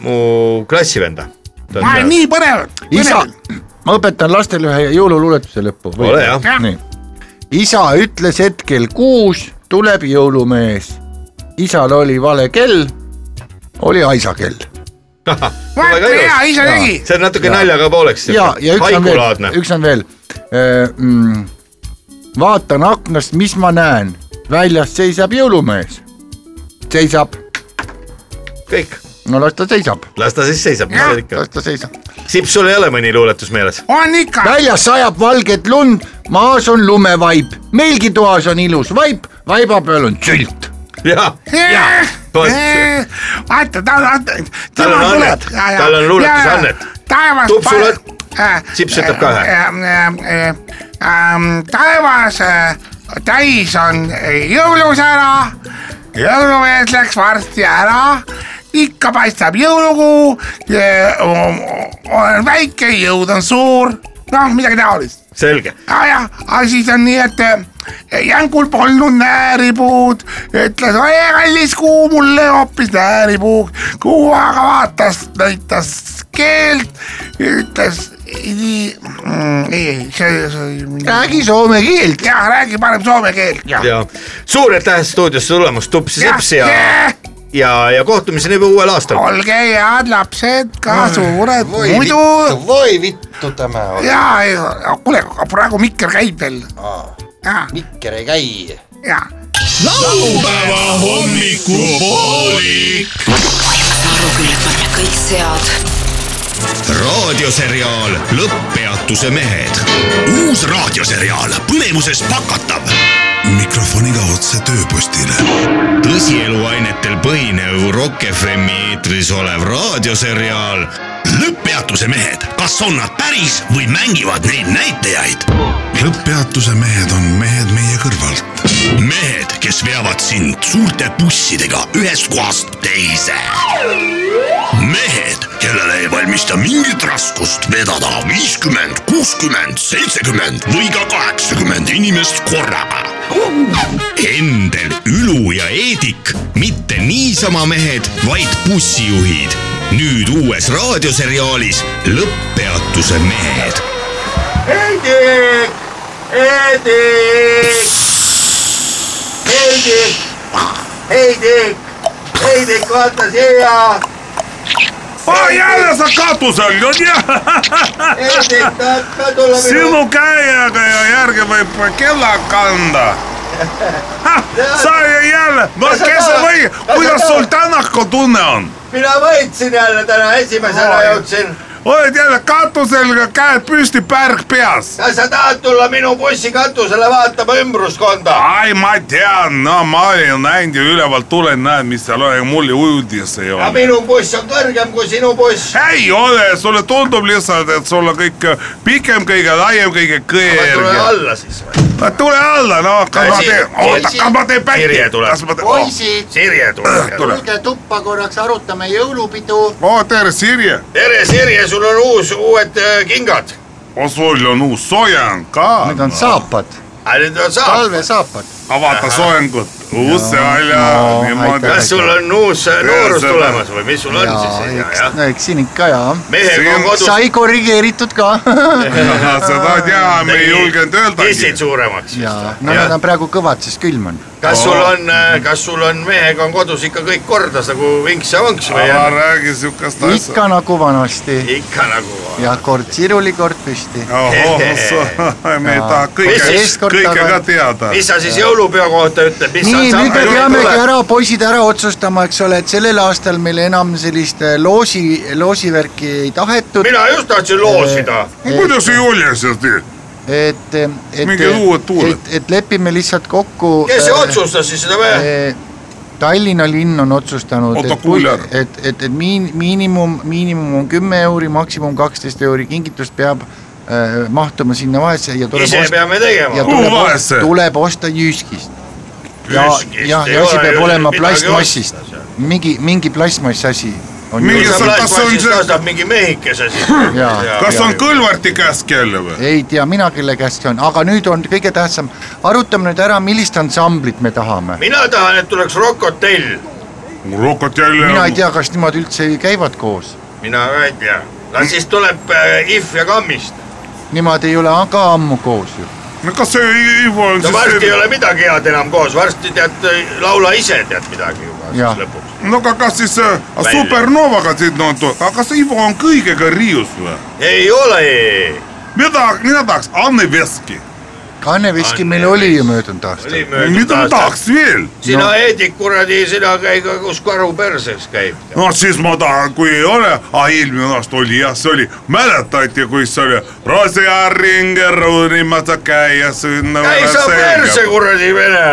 Speaker 2: mu klassivenda .
Speaker 8: ma olen nii põnev .
Speaker 3: isa , ma õpetan lastele ühe jõululuuletuse lõppu .
Speaker 2: Ole hea.
Speaker 8: Jah.
Speaker 3: nii , isa ütles , et kell kuus tuleb jõulumees . isal oli vale kell , oli aisa kell .
Speaker 8: vaata hea , isa tegi .
Speaker 2: see on natuke naljaga pooleks ,
Speaker 3: ja , ja üks on
Speaker 2: haikulaadne
Speaker 3: veel ,. üks on veel . vaatan aknast , mis ma näen , väljas seisab jõulumees . seisab ,
Speaker 2: kõik ,
Speaker 3: no las ta seisab ,
Speaker 2: las ta siis seisab , mis seal ikka
Speaker 3: las . ta seisab .
Speaker 2: Sips , sul ei ole mõni luuletus meeles ?
Speaker 8: on ikka .
Speaker 3: väljas sajab valget lund , maas on lumevaip , meilgi toas on ilus vaip , vaiba peal on sült .
Speaker 2: jaa , vot.
Speaker 8: vaata , tal on ,
Speaker 2: Tal on
Speaker 8: tema tuleb
Speaker 2: annet. . Tal on luuletus annet.
Speaker 8: taevas . Äh,
Speaker 2: Tups sulle- Sips ütleb ka
Speaker 8: ühe . äh, ähm, taevas äh, täis on jõulusära , jõulumees läks varsti ära , ikka paistab jõulukuu , olen väike , jõud on suur , noh , midagi taolist .
Speaker 2: selge
Speaker 8: ja , ja , aga siis on nii , et eh, jänkul polnud nääripuud , ütles , oi kallis kuu , mulle hoopis nääripuu . kuu aga vaatas , näitas keelt , ütles nii , ei , ei , see , see oli .
Speaker 3: räägi soome keelt .
Speaker 8: jah , räägi parem soome keelt .
Speaker 2: ja suur aitäh stuudiosse tulemast , Tupsi Sips ja , ja , ja kohtumiseni juba uuel aastal .
Speaker 8: olge head lapsed , ka suured , muidu
Speaker 10: voi vittu tämä on .
Speaker 8: ja , ja kuule , praegu mikker käib veel . ja ,
Speaker 10: Mikker ei käi .
Speaker 8: ja
Speaker 1: laupäeva hommikupooli .
Speaker 5: saan aru küll , et paljad kõik sead
Speaker 11: raadioseriaal Lõpppeatuse mehed .
Speaker 1: uus raadioseriaal põnevuses pakatav .
Speaker 4: mikrofoniga otse tööpostile .
Speaker 11: tõsieluainetel põhinev Rock FM-i eetris olev raadioseriaal
Speaker 1: lõpppeatuse mehed , kas on nad päris või mängivad neid näitajaid ?
Speaker 4: lõpppeatuse mehed on mehed meie kõrvalt .
Speaker 1: mehed , kes veavad sind suurte bussidega ühest kohast teise . mehed , kellele ei valmista mingit raskust vedada viiskümmend , kuuskümmend , seitsekümmend või ka kaheksakümmend inimest korraga .
Speaker 11: Endel , Ülu ja Eedik , mitte niisama mehed , vaid bussijuhid . nüüd uues raadioseriaalis Lõpppeatuse mehed .
Speaker 2: Heidik , Heidik , Heidik , Heidik , Heidik , vaata siia ,
Speaker 4: aa , jälle sa katusel oled , jah ?
Speaker 2: Heidik , tahad ka tulla
Speaker 4: sinu käiega ja järge võib kella kanda . sa ei jälle , no kes sa või , kuidas sul tänaku tunne on ?
Speaker 2: mina võitsin jälle täna , esimesena jõudsin .
Speaker 4: oled jälle katusel , käed püsti , pärg peas .
Speaker 10: kas sa tahad tulla minu bussi katusele vaatama ümbruskonda ?
Speaker 4: ai , ma tean , no ma olen näinud ja ülevalt tulen , näen , mis seal on , mulli uudis ei
Speaker 10: aga
Speaker 4: ole .
Speaker 10: minu buss on kõrgem kui sinu buss .
Speaker 4: ei ole , sulle tundub lihtsalt , et sul on kõik pikem , kõige laiem , kõige
Speaker 10: tule
Speaker 4: kõrgem .
Speaker 10: alla siis või ?
Speaker 4: tule alla , no kas ma
Speaker 10: Asi-
Speaker 4: teen , oota ,
Speaker 10: asi-
Speaker 4: kas ma teen pätti
Speaker 2: Kirje , tuleb.
Speaker 4: kas ma Oh, teen ,
Speaker 3: poisid ,
Speaker 2: Sirje tuleb .
Speaker 4: Äh, tule ,
Speaker 3: tulge tuppa korraks , arutame jõulupidu .
Speaker 4: oo oh, tere , Sirje ,
Speaker 10: tere , Sirje , sul on uus , uued äh, kingad .
Speaker 4: Oh, sul on uus soojang ka ,
Speaker 3: Need on saapad ,
Speaker 10: aga nüüd on saab .
Speaker 3: talvesaapad .
Speaker 4: avata soengut , usse välja
Speaker 3: no, ,
Speaker 4: niimoodi
Speaker 3: aitäh. .
Speaker 2: kas sul on uus äh, noorus
Speaker 4: Jaa,
Speaker 2: tulemas või mis sul on siis ?
Speaker 3: eks , eks siin ikka ja .
Speaker 2: mehega on kodus ,
Speaker 3: sai korrigeeritud ka .
Speaker 4: seda ei tea , me ei
Speaker 2: Tegi-
Speaker 4: julgenud öeldagi
Speaker 2: tissid . suuremaks .
Speaker 3: ja , no nad on praegu kõvad , sest külm on .
Speaker 2: kas sul on , kas sul on mehega on kodus ikka kõik kordas nagu vinks ja vanks või
Speaker 4: aga
Speaker 2: on
Speaker 4: räägi siukest asja .
Speaker 3: ikka nagu vanasti
Speaker 2: ikka nagu ?
Speaker 3: ja kord siruli , kord püsti .
Speaker 4: ohoh , me ei taha
Speaker 2: Mis
Speaker 4: kõike
Speaker 2: siis ,
Speaker 3: kord
Speaker 4: kõike ka
Speaker 3: tagasi-
Speaker 4: teada .
Speaker 2: mis sa siis jõulupeo kohta ütled , mis
Speaker 3: nii , nüüd me peamegi
Speaker 2: ansambel ?
Speaker 3: ära , poisid , ära otsustama , eks ole , et sellel aastal meil enam sellist eh, loosi , loosivärki ei tahetud .
Speaker 2: mina just tahtsin loosida .
Speaker 4: kuidas sa julgesid nii ?
Speaker 3: et , et ,
Speaker 4: Mingid uued tuuled.
Speaker 3: et , et lepime lihtsalt kokku .
Speaker 2: kes see otsustas siis seda või ?
Speaker 3: Eh, Tallinna linn on otsustanud ,
Speaker 4: Otto
Speaker 3: et kui-
Speaker 4: Kuller.
Speaker 3: et , et , et miin- , miinimum , miinimum on kümme euri , maksimum kaksteist euri , kingitus peab äh, mahtuma sinna vahesse ja tuleb
Speaker 2: ise
Speaker 3: osta ,
Speaker 2: peame
Speaker 3: ja
Speaker 2: tegema .
Speaker 3: tuleb,
Speaker 4: Kuhu vahesse?
Speaker 3: osta, tuleb osta jyskist . ja ,
Speaker 2: Jyskist
Speaker 3: ja ,
Speaker 2: ei
Speaker 3: ja asi
Speaker 2: ole
Speaker 3: peab
Speaker 2: ju
Speaker 3: olema
Speaker 2: midagi
Speaker 3: plastmassist , mingi , mingi plastmassasi on
Speaker 4: Mingi
Speaker 3: juures.
Speaker 4: sa- kas on see-
Speaker 2: kasvab mingi mehikese siis .
Speaker 3: Jaa.
Speaker 4: kas on Kõlvarti käsk jälle või ?
Speaker 3: ei tea mina , kelle käest see on , aga nüüd on kõige tähtsam , arutame nüüd ära , millist ansamblit me tahame .
Speaker 2: mina tahan , et tuleks Rock Hotell .
Speaker 4: rokot jälle
Speaker 3: mina ei
Speaker 4: on .
Speaker 3: tea , kas nemad üldse käivad koos
Speaker 2: mina ka ei tea . no siis tuleb äh, If ja Kammist .
Speaker 3: nemad ei ole ka ammu koos ju .
Speaker 4: kas see Ivo on
Speaker 2: no
Speaker 4: siis
Speaker 2: varsti ei ole midagi head enam koos , varsti tead , laula ise tead midagi juba
Speaker 3: Jah.
Speaker 2: siis lõpuks .
Speaker 4: no aga kas siis äh,
Speaker 2: Välja.
Speaker 4: Supernovaga siin on , aga kas Ivo on kõigega Riius või ?
Speaker 2: ei ole .
Speaker 4: mida , mina tahaks Anne Veski ,
Speaker 3: Kanneveski
Speaker 2: Anne
Speaker 3: meil oli ju möödunud aastal .
Speaker 4: mida ma tahaks veel ?
Speaker 2: sina no. Heedik kuradi , sina käi ka , kus karu perses käib .
Speaker 4: no siis ma tahan , kui ei ole , ah eelmine aasta oli jah , see oli , mäletati , kui see oli Rose ja Ringer , Uurimatsa käia sinna .
Speaker 2: ei saa perse kuradi vene .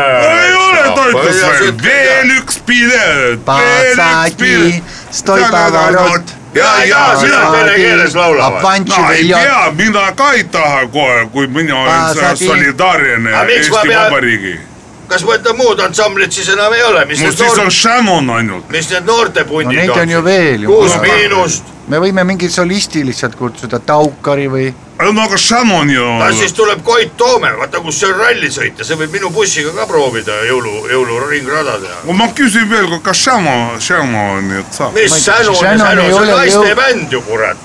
Speaker 4: ei ole , ta ütles veel , veel üks pilet , veel üks
Speaker 3: Pasaki
Speaker 4: pilet .
Speaker 3: stoipavarot .
Speaker 4: ja , ja
Speaker 2: sina
Speaker 4: mina ,
Speaker 2: vene keeles laulavad .
Speaker 4: no ei pea , mina ka ei taha kohe , kui mina olen seal
Speaker 3: Pasaki.
Speaker 4: solidaarne
Speaker 2: Aga miks
Speaker 4: Eesti
Speaker 2: ma pean-
Speaker 4: Vabariigi .
Speaker 2: kas mõnda muud ansamblit siis enam ei ole , mis
Speaker 4: mul
Speaker 2: need
Speaker 4: siis on
Speaker 2: noort ,
Speaker 4: Shannon ainult ,
Speaker 2: mis need noortepundid
Speaker 3: No neid on ju veel ju.
Speaker 2: kuus
Speaker 3: Ma-
Speaker 2: miinust ,
Speaker 3: me võime mingi solisti lihtsalt kutsuda , Taukari või
Speaker 4: no aga Shannon ju .
Speaker 2: kas siis tuleb Koit Toome , vaata kus see on rallisõit ja see võib minu bussiga ka proovida jõulu , jõuluringrada teha .
Speaker 4: ma küsin veel , kas Shannon , Shannon nüüd saab ?
Speaker 3: Ma
Speaker 2: mis
Speaker 3: ei-
Speaker 2: Shannon ja
Speaker 3: Shannon
Speaker 2: Shannon ,
Speaker 3: ei
Speaker 2: see on
Speaker 3: ole ju-
Speaker 2: naistebänd ju kurat .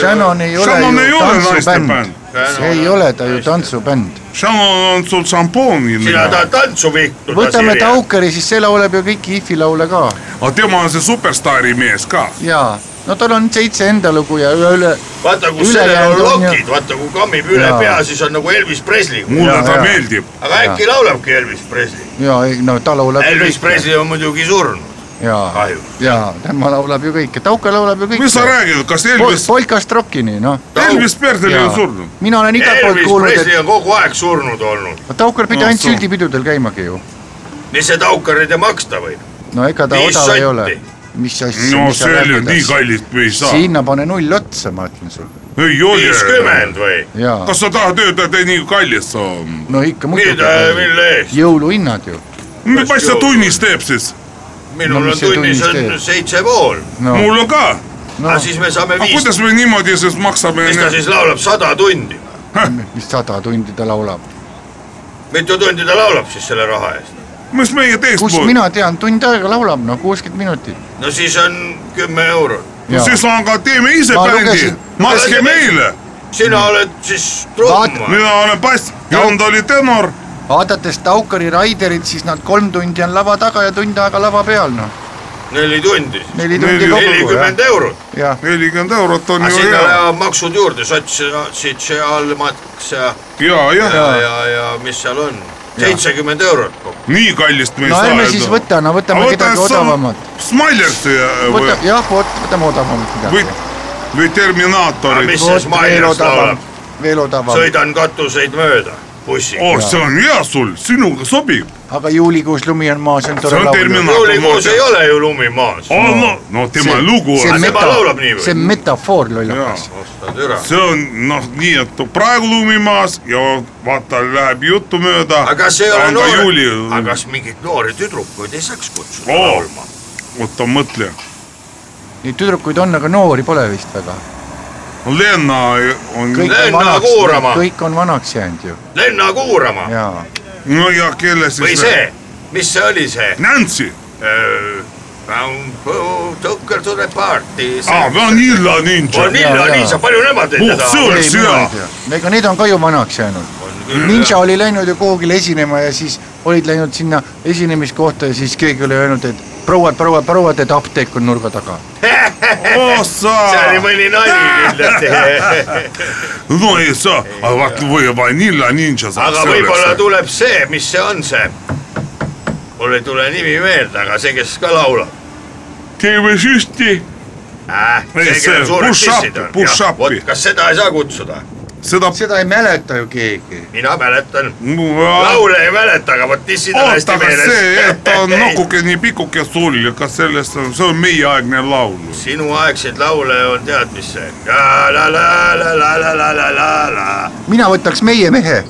Speaker 3: Shannon ei ole
Speaker 4: Shannon ei
Speaker 3: ju
Speaker 4: ole
Speaker 3: tantsubänd
Speaker 4: naistebänd. .
Speaker 3: ei ole ta ju . tantsubänd .
Speaker 4: Shannon on sul šampooni .
Speaker 2: sina tahad tantsu pihtu .
Speaker 3: võtame . Taukari , siis see laulab ju kõiki IFI laule ka
Speaker 4: aga tema on see superstaari mees ka .
Speaker 3: jaa . no tal on seitse enda lugu ja üle , üle ,
Speaker 2: vaata , kus
Speaker 3: Ülejäänud
Speaker 2: sellel on
Speaker 3: on ju-
Speaker 2: lokid , vaata kui kammib üle
Speaker 3: Jaa.
Speaker 2: pea , siis on nagu Elvis Presley .
Speaker 4: mulle
Speaker 3: Jaa,
Speaker 4: ta
Speaker 3: jaa.
Speaker 4: meeldib .
Speaker 2: aga äkki laulabki Elvis Presley .
Speaker 3: jaa , ei no ta laulab ju
Speaker 2: Elvis
Speaker 3: kõike .
Speaker 2: Presley on muidugi surnud .
Speaker 3: jaa
Speaker 2: Kahju. ,
Speaker 3: jaa , tema laulab ju kõike , Taukar laulab ju kõike .
Speaker 4: mis sa räägid , kas Elvis ,
Speaker 3: Polkast rockini , noh .
Speaker 4: Elvis Presley on
Speaker 3: Jaa.
Speaker 4: surnud ?
Speaker 3: mina olen igalt poolt
Speaker 2: Elvis
Speaker 3: kuulnud , et
Speaker 2: Presley on kogu aeg surnud olnud .
Speaker 3: no Taukar pidi
Speaker 4: No
Speaker 3: ainult
Speaker 4: suu.
Speaker 3: süldipidudel käimagi ju .
Speaker 2: mis see taukarid ja maksta võib ?
Speaker 3: no ega ta
Speaker 2: Viis
Speaker 3: odav ei
Speaker 2: sotti.
Speaker 3: ole . mis asja .
Speaker 4: no see oli nii kallis , me ei saa .
Speaker 3: sinna pane null otsa , ma ütlen sulle .
Speaker 4: ei ole .
Speaker 2: viiskümmend või ?
Speaker 3: jaa ,
Speaker 4: kas sa tahad öelda , et ei nii kallis on ?
Speaker 3: no ikka
Speaker 2: mida ,
Speaker 3: muidugi .
Speaker 2: mille eest ?
Speaker 3: jõuluhinnad ju .
Speaker 4: mis
Speaker 2: Kas
Speaker 4: asja
Speaker 2: jõud-
Speaker 4: tunnis teeb siis ?
Speaker 2: minul
Speaker 3: No mis
Speaker 2: on
Speaker 3: see
Speaker 2: tunnis
Speaker 3: tunnis teeb?
Speaker 2: on seitse pool .
Speaker 3: no ,
Speaker 4: mul on ka .
Speaker 3: no
Speaker 2: aga siis me saame
Speaker 4: aga
Speaker 2: viis ,
Speaker 4: kuidas me niimoodi siis maksame ?
Speaker 2: mis ta siis laulab , sada tundi ?
Speaker 3: mis sada tundi ta laulab .
Speaker 2: mitu tundi ta laulab siis selle raha eest ?
Speaker 4: mis meie teist
Speaker 3: kust
Speaker 4: poolt ?
Speaker 3: mina tean , tund aega laulab , no kuuskümmend minutit .
Speaker 2: no siis on kümme eurot .
Speaker 4: siis on ka , teeme ise
Speaker 3: Ma
Speaker 4: bändi
Speaker 3: lugesin- ,
Speaker 2: Ma-
Speaker 4: makske meile . Mm.
Speaker 2: sina oled siis trumm .
Speaker 4: mina olen bass , Jaan oli tenor .
Speaker 3: vaadates Taukari Raiderit , siis nad kolm tundi on lava taga ja tund aega lava peal , noh .
Speaker 2: neli tundi siis .
Speaker 3: neli tundi
Speaker 4: Neli-
Speaker 3: kokku , jah
Speaker 2: nelikümmend eurot .
Speaker 3: jah .
Speaker 4: nelikümmend eurot on
Speaker 3: Ah,
Speaker 2: aga
Speaker 4: ju
Speaker 2: sinna
Speaker 4: hea .
Speaker 2: lähevad maksud juurde , sots- , sotsiaalmaks ja ,
Speaker 4: ja ,
Speaker 2: ja ,
Speaker 4: jah ,
Speaker 2: ja , ja mis seal on , seitsekümmend eurot kokku .
Speaker 4: nii kallist me ei
Speaker 3: no
Speaker 4: saa .
Speaker 3: ärme siis võta , no võtame kedagi odavamat .
Speaker 4: Smilersi ja- äh, või
Speaker 3: võta , jah , võtame odavamat midagi
Speaker 4: Või- . või Terminaatorid .
Speaker 10: mis siis Mailjas laulab ?,
Speaker 3: veelotava ,
Speaker 10: sõidan katuseid mööda bussiga
Speaker 4: oh , see on hea sul , sinuga sobib .
Speaker 3: aga juulikuus lumi on maas , see on tore
Speaker 4: See on
Speaker 3: laul .
Speaker 4: terminal.
Speaker 10: juulikuus ei ole ju lumi maas .
Speaker 4: Oh, no, no tema see, lugu
Speaker 3: see
Speaker 4: on ,
Speaker 10: meta- laulab nii või?
Speaker 3: see on metafoor lollakas .
Speaker 4: see on noh , nii et praegu lumimaas ja vaata , läheb jutu mööda .
Speaker 10: aga kas ei ole noori
Speaker 4: juuli ,, Oh.
Speaker 10: aga kas mingeid noori tüdrukuid ei saaks kutsuda
Speaker 4: Oo.
Speaker 10: laulma ?
Speaker 4: oota mõtle ,
Speaker 3: Neid tüdrukuid on , aga noori pole vist väga .
Speaker 4: Lenna on ,
Speaker 3: kõik
Speaker 10: Lenna
Speaker 3: on vanaks
Speaker 10: kuurama. ,
Speaker 3: kõik on vanaks jäänud ju .
Speaker 10: Lenna
Speaker 2: Ah.
Speaker 10: Kuurama
Speaker 3: jaa ,
Speaker 4: no ja kelle
Speaker 10: või
Speaker 4: siis ?
Speaker 10: see , mis see oli see ?
Speaker 4: Nancy ,
Speaker 10: Tucker to the party .
Speaker 4: aa , Ah, Vanilla Ninja .
Speaker 10: Vanilla
Speaker 3: Ah, jaa.
Speaker 10: Liisa , palju nemad ei
Speaker 4: Oh,
Speaker 10: tea
Speaker 4: see . oleks hea .
Speaker 3: ega need on ka ju vanaks jäänud . Ninja oli läinud ju kuhugile esinema ja siis olid läinud sinna esinemiskohta ja siis keegi oli öelnud , et prouad , prouad , prouad , et apteek on nurga taga .
Speaker 4: oh
Speaker 10: see
Speaker 4: sa
Speaker 10: oli , mõni nali kindlasti .
Speaker 4: no ei saa , aga vaata või Vanilla Ninja saab .
Speaker 10: aga võib-olla tuleb see , mis see on see ? mul ei tule nimi meelde , aga see , kes ka laulab
Speaker 4: teeme süsti ,
Speaker 10: äh, .
Speaker 4: Ei, see Push Upi, Push Upi.
Speaker 10: kas seda ei saa kutsuda ?
Speaker 4: seda .
Speaker 3: seda ei mäleta ju keegi .
Speaker 10: mina mäletan ,
Speaker 4: Ah.
Speaker 10: laule ei mäleta , aga vot dissid on
Speaker 4: oota ,
Speaker 10: hästi
Speaker 4: aga see , et ta on
Speaker 10: meeles .
Speaker 4: nokuke nii pikuke sul , kas sellest on , see on meieaegne laul .
Speaker 10: sinuaegseid laule on tead , mis see .
Speaker 3: mina võtaks meie mehe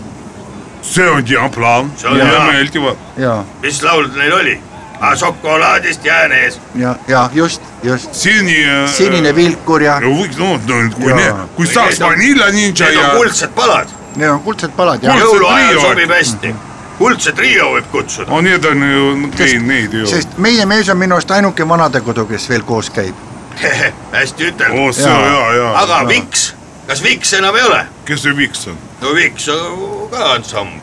Speaker 4: see on hea plaan
Speaker 10: See on
Speaker 4: ja
Speaker 10: hea.
Speaker 4: meeldivad .
Speaker 3: ja ,
Speaker 10: mis laul neil oli ? šokolaadist jään ees .
Speaker 3: ja , ja just , just .
Speaker 4: sini .
Speaker 3: sinine . vilkur ja
Speaker 4: võiks , noh , kui
Speaker 3: Jaa. ,
Speaker 4: kui saaks
Speaker 10: Need on-
Speaker 4: Vanilla Ninja
Speaker 10: Need
Speaker 4: ja
Speaker 10: on kuldsed palad ,
Speaker 3: need on kuldsed palad ja
Speaker 4: Kuldsed
Speaker 10: jõuluajal
Speaker 4: trio.
Speaker 10: sobib hästi . kuldse trio võib kutsuda .
Speaker 4: no need on ju , ei
Speaker 3: Sest-
Speaker 4: neid ei ole .
Speaker 3: sest meie mees on minu arust ainuke vanadekodu , kes veel koos käib .
Speaker 10: hästi üteldud .
Speaker 4: oo , Oh, see on
Speaker 3: Jaa.
Speaker 4: hea , hea .
Speaker 10: aga Viks , kas Viks enam ei ole ?
Speaker 4: kes see Viks on ?
Speaker 10: no Viks on ka ansambl ,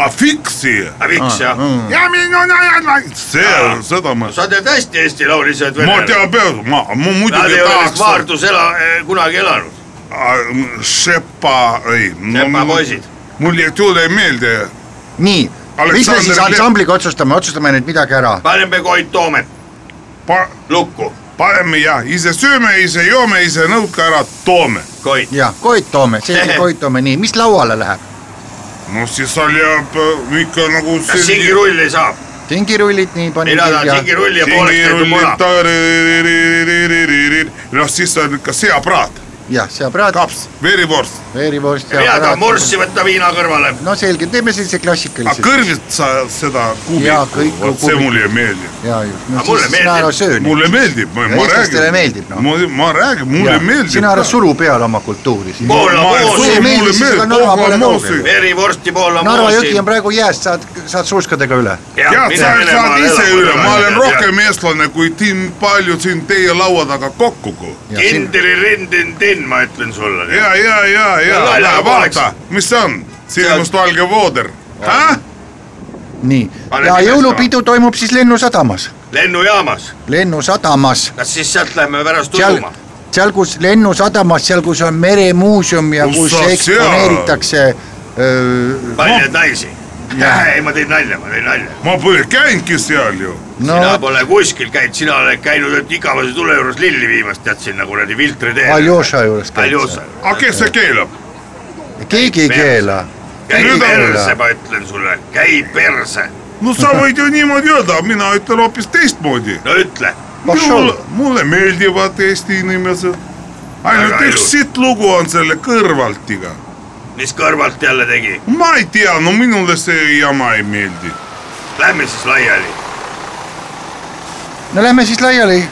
Speaker 4: aa , Fiksi ,
Speaker 10: aga Viks jah .
Speaker 4: mm.
Speaker 8: ja minu najad vaid .
Speaker 4: see on , seda ma ,
Speaker 10: sa tead hästi Eesti lauljaid
Speaker 4: ma
Speaker 10: venelasi .
Speaker 4: tean peaaegu , ma , ma
Speaker 10: Nad
Speaker 4: muidugi
Speaker 10: ei ole vist
Speaker 4: tahaks .
Speaker 10: Vaardus ela- , kunagi elanud .
Speaker 4: Šepa , ei .
Speaker 10: Sepa poisid .
Speaker 4: mul ei tule meelde ,
Speaker 3: nii , mis me
Speaker 4: Aleksander
Speaker 3: siis
Speaker 4: Lepp-
Speaker 3: ansambliga otsustame , otsustame nüüd midagi ära .
Speaker 10: paneme Koit Toomet lukku ,
Speaker 4: paneme ja ise sööme , ise joome , ise nõuka ära toome .
Speaker 10: Koit .
Speaker 3: jah , Koit Toome , selge Koit Toome , nii , mis lauale läheb ?
Speaker 4: no siis seal jääb äh, ikka nagu
Speaker 10: kas singirulli saab ?
Speaker 3: tingirullid , nii panin
Speaker 10: mina tahan
Speaker 3: kirja .
Speaker 10: singirulli ja pooleks tehtud muna .
Speaker 4: noh , siis on ikka seapraad ,
Speaker 3: jah , seapraad ,
Speaker 4: kaps , verivorst ,
Speaker 3: veerivorst .
Speaker 10: mina tahan morssi võtta viina kõrvale .
Speaker 3: no selge , teeme sellise
Speaker 4: aga
Speaker 3: klassikalise .
Speaker 4: kõrvilt sa seda
Speaker 3: Jaa, kõik
Speaker 4: kuubiku , vot see
Speaker 3: kuubiku.
Speaker 4: mulle ei meeldi .
Speaker 3: ja just , no
Speaker 10: Aga mulle
Speaker 3: siis sina
Speaker 10: meeldib.
Speaker 3: ära söö nüüd .
Speaker 4: Ah, mulle meeldib , ma
Speaker 3: Ja
Speaker 4: ma
Speaker 3: eestlastele
Speaker 4: räägin .
Speaker 3: meeldib, noh.
Speaker 4: ma , ma räägin , mulle meeldib .
Speaker 3: sina ära suru peale oma kultuuri siin .
Speaker 10: Poola
Speaker 3: sulle ei
Speaker 10: moosi ,
Speaker 3: meeldi, siis aga Narva pole kaugel.
Speaker 10: verivorsti Poola
Speaker 3: Narva
Speaker 10: moosi
Speaker 3: jõgi on . praegu jääs , saad , saad suuskadega üle .
Speaker 4: jah , sa saad ise üle , ma olen rohkem eestlane kui siin paljud siin teie laua taga kokku .
Speaker 10: Kindri rindin-tin , ma ütlen sulle .
Speaker 4: ja , ja , ja ,
Speaker 10: Ja
Speaker 4: ja ,
Speaker 10: nalja
Speaker 4: ja
Speaker 10: poleks.
Speaker 4: vaata , mis see on , sinimustvalge vooder ,
Speaker 3: nii ,
Speaker 10: Pane
Speaker 3: ja
Speaker 10: nimestama.
Speaker 3: jõulupidu toimub siis Lennusadamas .
Speaker 10: lennujaamas ,
Speaker 3: lennusadamas ,
Speaker 10: kas siis sealt lähme pärast
Speaker 3: seal
Speaker 10: ujuma ?,
Speaker 3: seal , kus lennusadamas , seal , kus on meremuuseum ja
Speaker 4: Kus
Speaker 3: kus
Speaker 4: sa
Speaker 3: eksponeeritakse öö,
Speaker 10: palju naisi ? ei , ma teen nalja , ma teen nalja .
Speaker 4: ma pole käinudki seal ju
Speaker 3: no
Speaker 10: sina pole kuskil käinud , sina oled käinud ainult igavese tule juures lilli viimas , tead sinna kuradi filtri teele .
Speaker 3: Aljoša juures käid
Speaker 10: Aljosa
Speaker 3: sa ..
Speaker 4: aga kes see keelab ?
Speaker 3: keegi ei keela .
Speaker 10: käi
Speaker 4: Nüüd on-
Speaker 10: perse , ma ütlen sulle , käi perse .
Speaker 4: no sa võid ju niimoodi öelda , mina ütlen hoopis teistmoodi .
Speaker 10: no ütle ,
Speaker 4: mulle , mulle meeldivad Eesti inimesed . ainult
Speaker 10: Väga
Speaker 4: üks
Speaker 10: ilus.
Speaker 4: sitt lugu on selle kõrvaltiga .
Speaker 10: mis kõrvalt jälle tegi ,
Speaker 4: ma ei tea , no minule see jama ei meeldi .
Speaker 10: lähme siis laiali .
Speaker 3: no lähme siis laiali .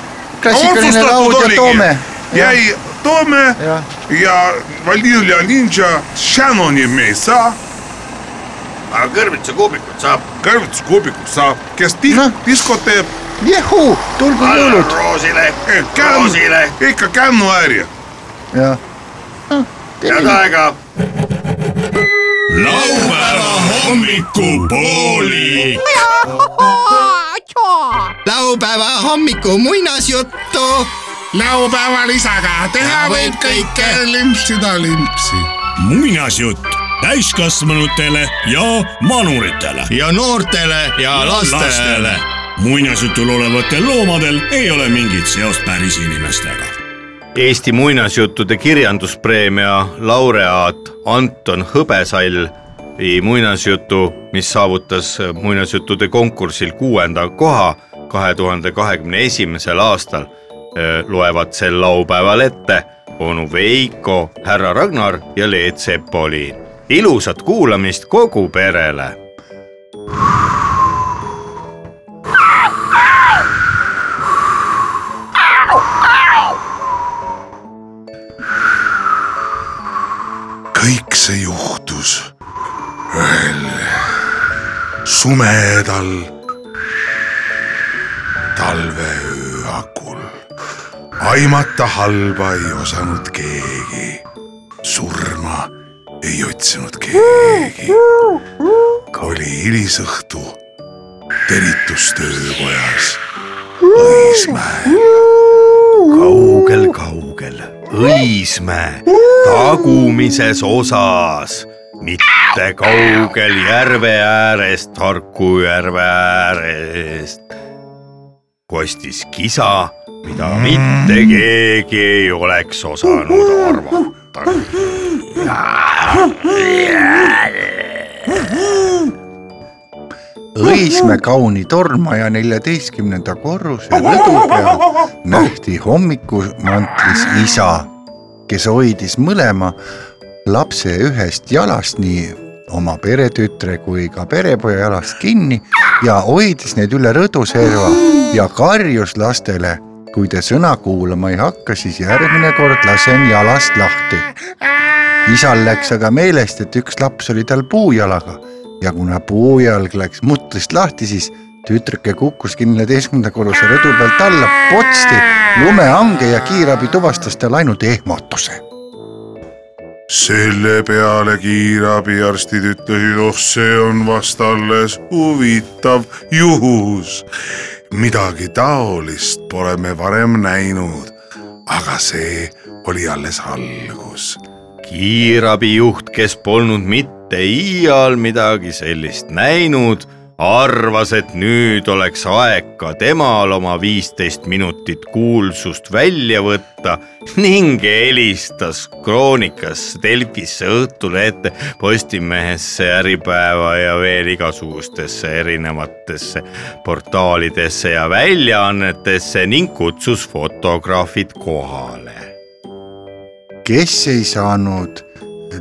Speaker 3: klassikaline laud ja toome .
Speaker 4: jäi Toome
Speaker 3: Jah.
Speaker 4: ja Valjulja Ninja Shannoni me ei saa ,
Speaker 10: aga kõrvitsa kuubikut saab .
Speaker 4: kõrvutus kuubikud saab , kes di-
Speaker 3: Noh.
Speaker 4: disko teeb ,
Speaker 3: jehuu , tulgu jõulud .
Speaker 10: roosile ,
Speaker 4: eh, kännu
Speaker 10: roosile ,
Speaker 4: ikka kännuäri .
Speaker 3: jah .
Speaker 10: head aega
Speaker 1: laupäeva hommikupooli .
Speaker 12: laupäeva hommiku muinasjuttu .
Speaker 8: laupäeva lisaga teha võib kõike , limpsida limpsi .
Speaker 1: muinasjutt täiskasvanutele ja manuritele .
Speaker 12: ja noortele ja lastele .
Speaker 1: muinasjutul olevatel loomadel ei ole mingit seost päris inimestega .
Speaker 2: Eesti muinasjuttude kirjanduspreemia laureaat Anton Hõbesall muinasjutu , mis saavutas muinasjuttude konkursil kuuenda koha kahe tuhande kahekümne esimesel aastal , loevad sel laupäeval ette onu Veiko , härra Ragnar ja Leet Sepoliin . ilusat kuulamist kogu perele
Speaker 4: kõik see juhtus ühel sumedal talveöö hakul . aimata halba ei osanud keegi , surma ei otsinud keegi . oli hilisõhtu teritustöökojas Õismäel .
Speaker 2: kaugel-kaugel Õismäe tagumises osas , mitte kaugel järve äärest , Harku järve äärest . kostis kisa , mida mitte keegi ei oleks osanud arvata .
Speaker 3: Õismäe kauni tormaja neljateistkümnenda korruse lõdu peal nähti hommikumantlis isa , kes hoidis mõlema lapse ühest jalast nii oma peretütre kui ka perepoja jalast kinni ja hoidis neid üle rõduserva ja karjus lastele . kui te sõna kuulama ei hakka , siis järgmine kord lasen jalast lahti . isal läks aga meelest , et üks laps oli tal puujalaga ja kuna puujalg läks mutrist lahti , siis tütrike kukkus neljateistkümnenda korruse rõdu pealt alla , potsti lumehange ja kiirabi tuvastas tal ainult ehmatuse .
Speaker 4: selle peale kiirabiarstid ütlesid , oh see on vast alles huvitav juhus . midagi taolist pole me varem näinud , aga see oli alles algus .
Speaker 2: kiirabijuht , kes polnud mitte iial midagi sellist näinud , arvas , et nüüd oleks aeg ka temal oma viisteist minutit kuulsust välja võtta ning helistas Kroonikasse , Delfisse , Õhtulehte , Postimehesse , Äripäeva ja veel igasugustesse erinevatesse portaalidesse ja väljaannetesse ning kutsus fotograafid kohale .
Speaker 3: kes ei saanud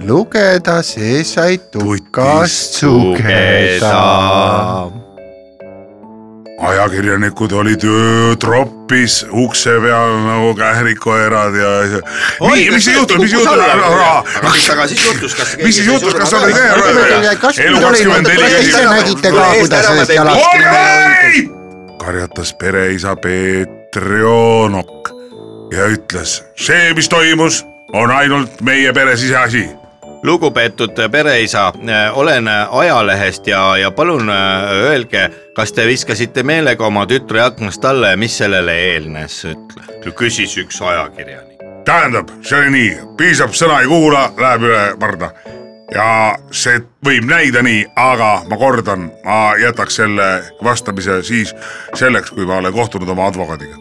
Speaker 3: lugeda , see sai tukast sugeda .
Speaker 4: ajakirjanikud olid öö tropis ukse peal nagu kährikoerad ja . nii , mis juhtus , mis juhtus , ära , ära .
Speaker 10: aga siis juhtus , kas .
Speaker 4: mis siis juhtus , kas oli ka ära ? elu kakskümmend neli karjatas pereisa Peeter Joonok ja ütles , see , mis toimus , on ainult meie pere siseasi .
Speaker 2: lugupeetud pereisa , olen ajalehest ja , ja palun äh, öelge , kas te viskasite meelega oma tütre aknast alla ja mis sellele eelnes , ütle , küsis üks ajakirjanik .
Speaker 4: tähendab , see oli nii , piisab , sõna ei kuula , läheb üle parda . ja see võib näida nii , aga ma kordan , ma jätaks selle vastamise siis selleks , kui ma olen kohtunud oma advokaadiga .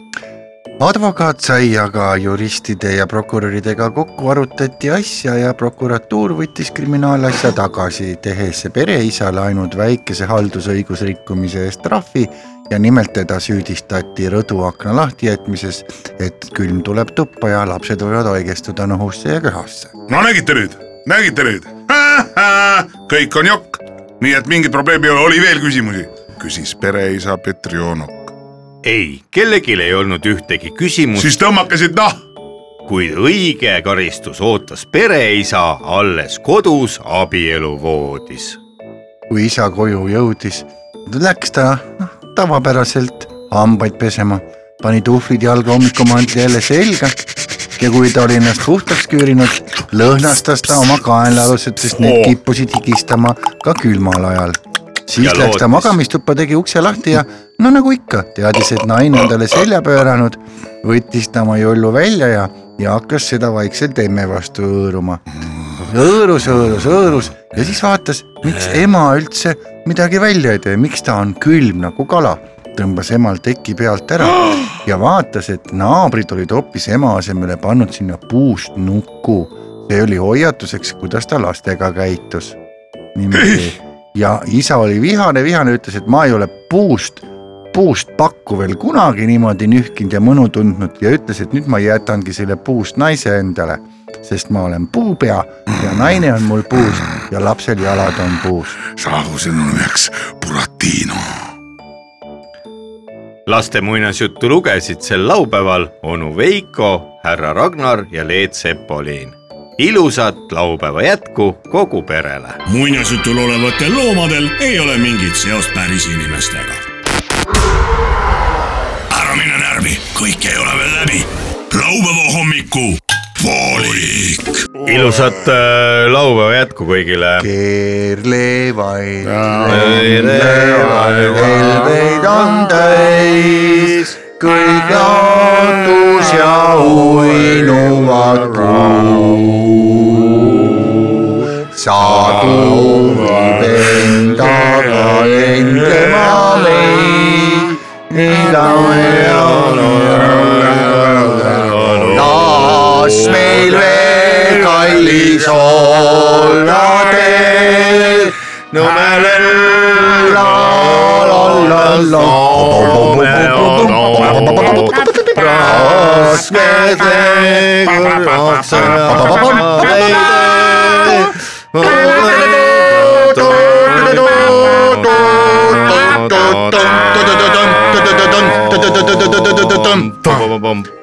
Speaker 3: advokaat sai aga juristide ja prokuröridega kokku , arutati asja ja prokuratuur võttis kriminaalasja tagasi , tehes pereisale ainult väikese haldusõigusrikkumise eest trahvi ja nimelt teda süüdistati rõduakna lahtijätmises , et külm tuleb tuppa ja lapsed võivad haigestuda nohusse ja köhasse .
Speaker 4: no nägite nüüd , nägite nüüd , kõik on jokk , nii et mingit probleemi ei ole , oli veel küsimusi ? küsis pereisa Petri Joonok .
Speaker 2: ei , kellelgi ei olnud ühtegi küsimust .
Speaker 4: siis noh! tõmmake siit nahk .
Speaker 2: kuid õige karistus ootas pereisa alles kodus abieluvoodis
Speaker 3: kui isa koju jõudis , läks ta noh tavapäraselt hambaid pesema , pani tuhvlid jalga hommikumantli jälle selga ja kui ta oli ennast puhtaks küürinud , lõhnastas ta oma kaenlaalused , sest need kippusid higistama ka külmal ajal . siis
Speaker 2: Ja
Speaker 3: läks ta
Speaker 2: loodis.
Speaker 3: magamistuppa , tegi ukse lahti ja no nagu ikka , teadis , et naine on talle selja pööranud , võttis ta oma jollu välja ja , ja hakkas seda vaikselt emme vastu hõõruma . hõõrus , hõõrus , hõõrus ja siis vaatas , miks ema üldse midagi välja ei tee , miks ta on külm nagu kala . tõmbas emal teki pealt ära ja vaatas , et naabrid olid hoopis ema asemele pannud sinna puust nuku . see oli hoiatuseks , kuidas ta lastega käitus . niimoodi ja isa oli vihane , vihane , ütles , et ma ei ole puust , puust pakku veel kunagi niimoodi nühkinud ja mõnu tundnud ja ütles , et nüüd ma jätangi selle puust naise endale , sest ma olen puupea ja naine on mul puust ja lapsel jalad on puust .
Speaker 4: saagu sinu nimeks Buratino .
Speaker 2: laste muinasjuttu lugesid sel laupäeval onu Veiko , härra Ragnar ja Leet Sepoliin . ilusat laupäeva jätku kogu perele .
Speaker 1: muinasjutul olevatel loomadel ei ole mingit seost päris inimestega . ära mine närvi , kõik ei ole veel läbi . laupäeva hommiku poolik .
Speaker 2: ilusat äh, laupäeva jätku kõigile .
Speaker 3: keerle vaid .
Speaker 2: velveid
Speaker 3: on täis , kõik jaotus ja uinuvad kuud . sadu endaga endema leid , nii ta veel on . las meil veel kallis olla teel , no me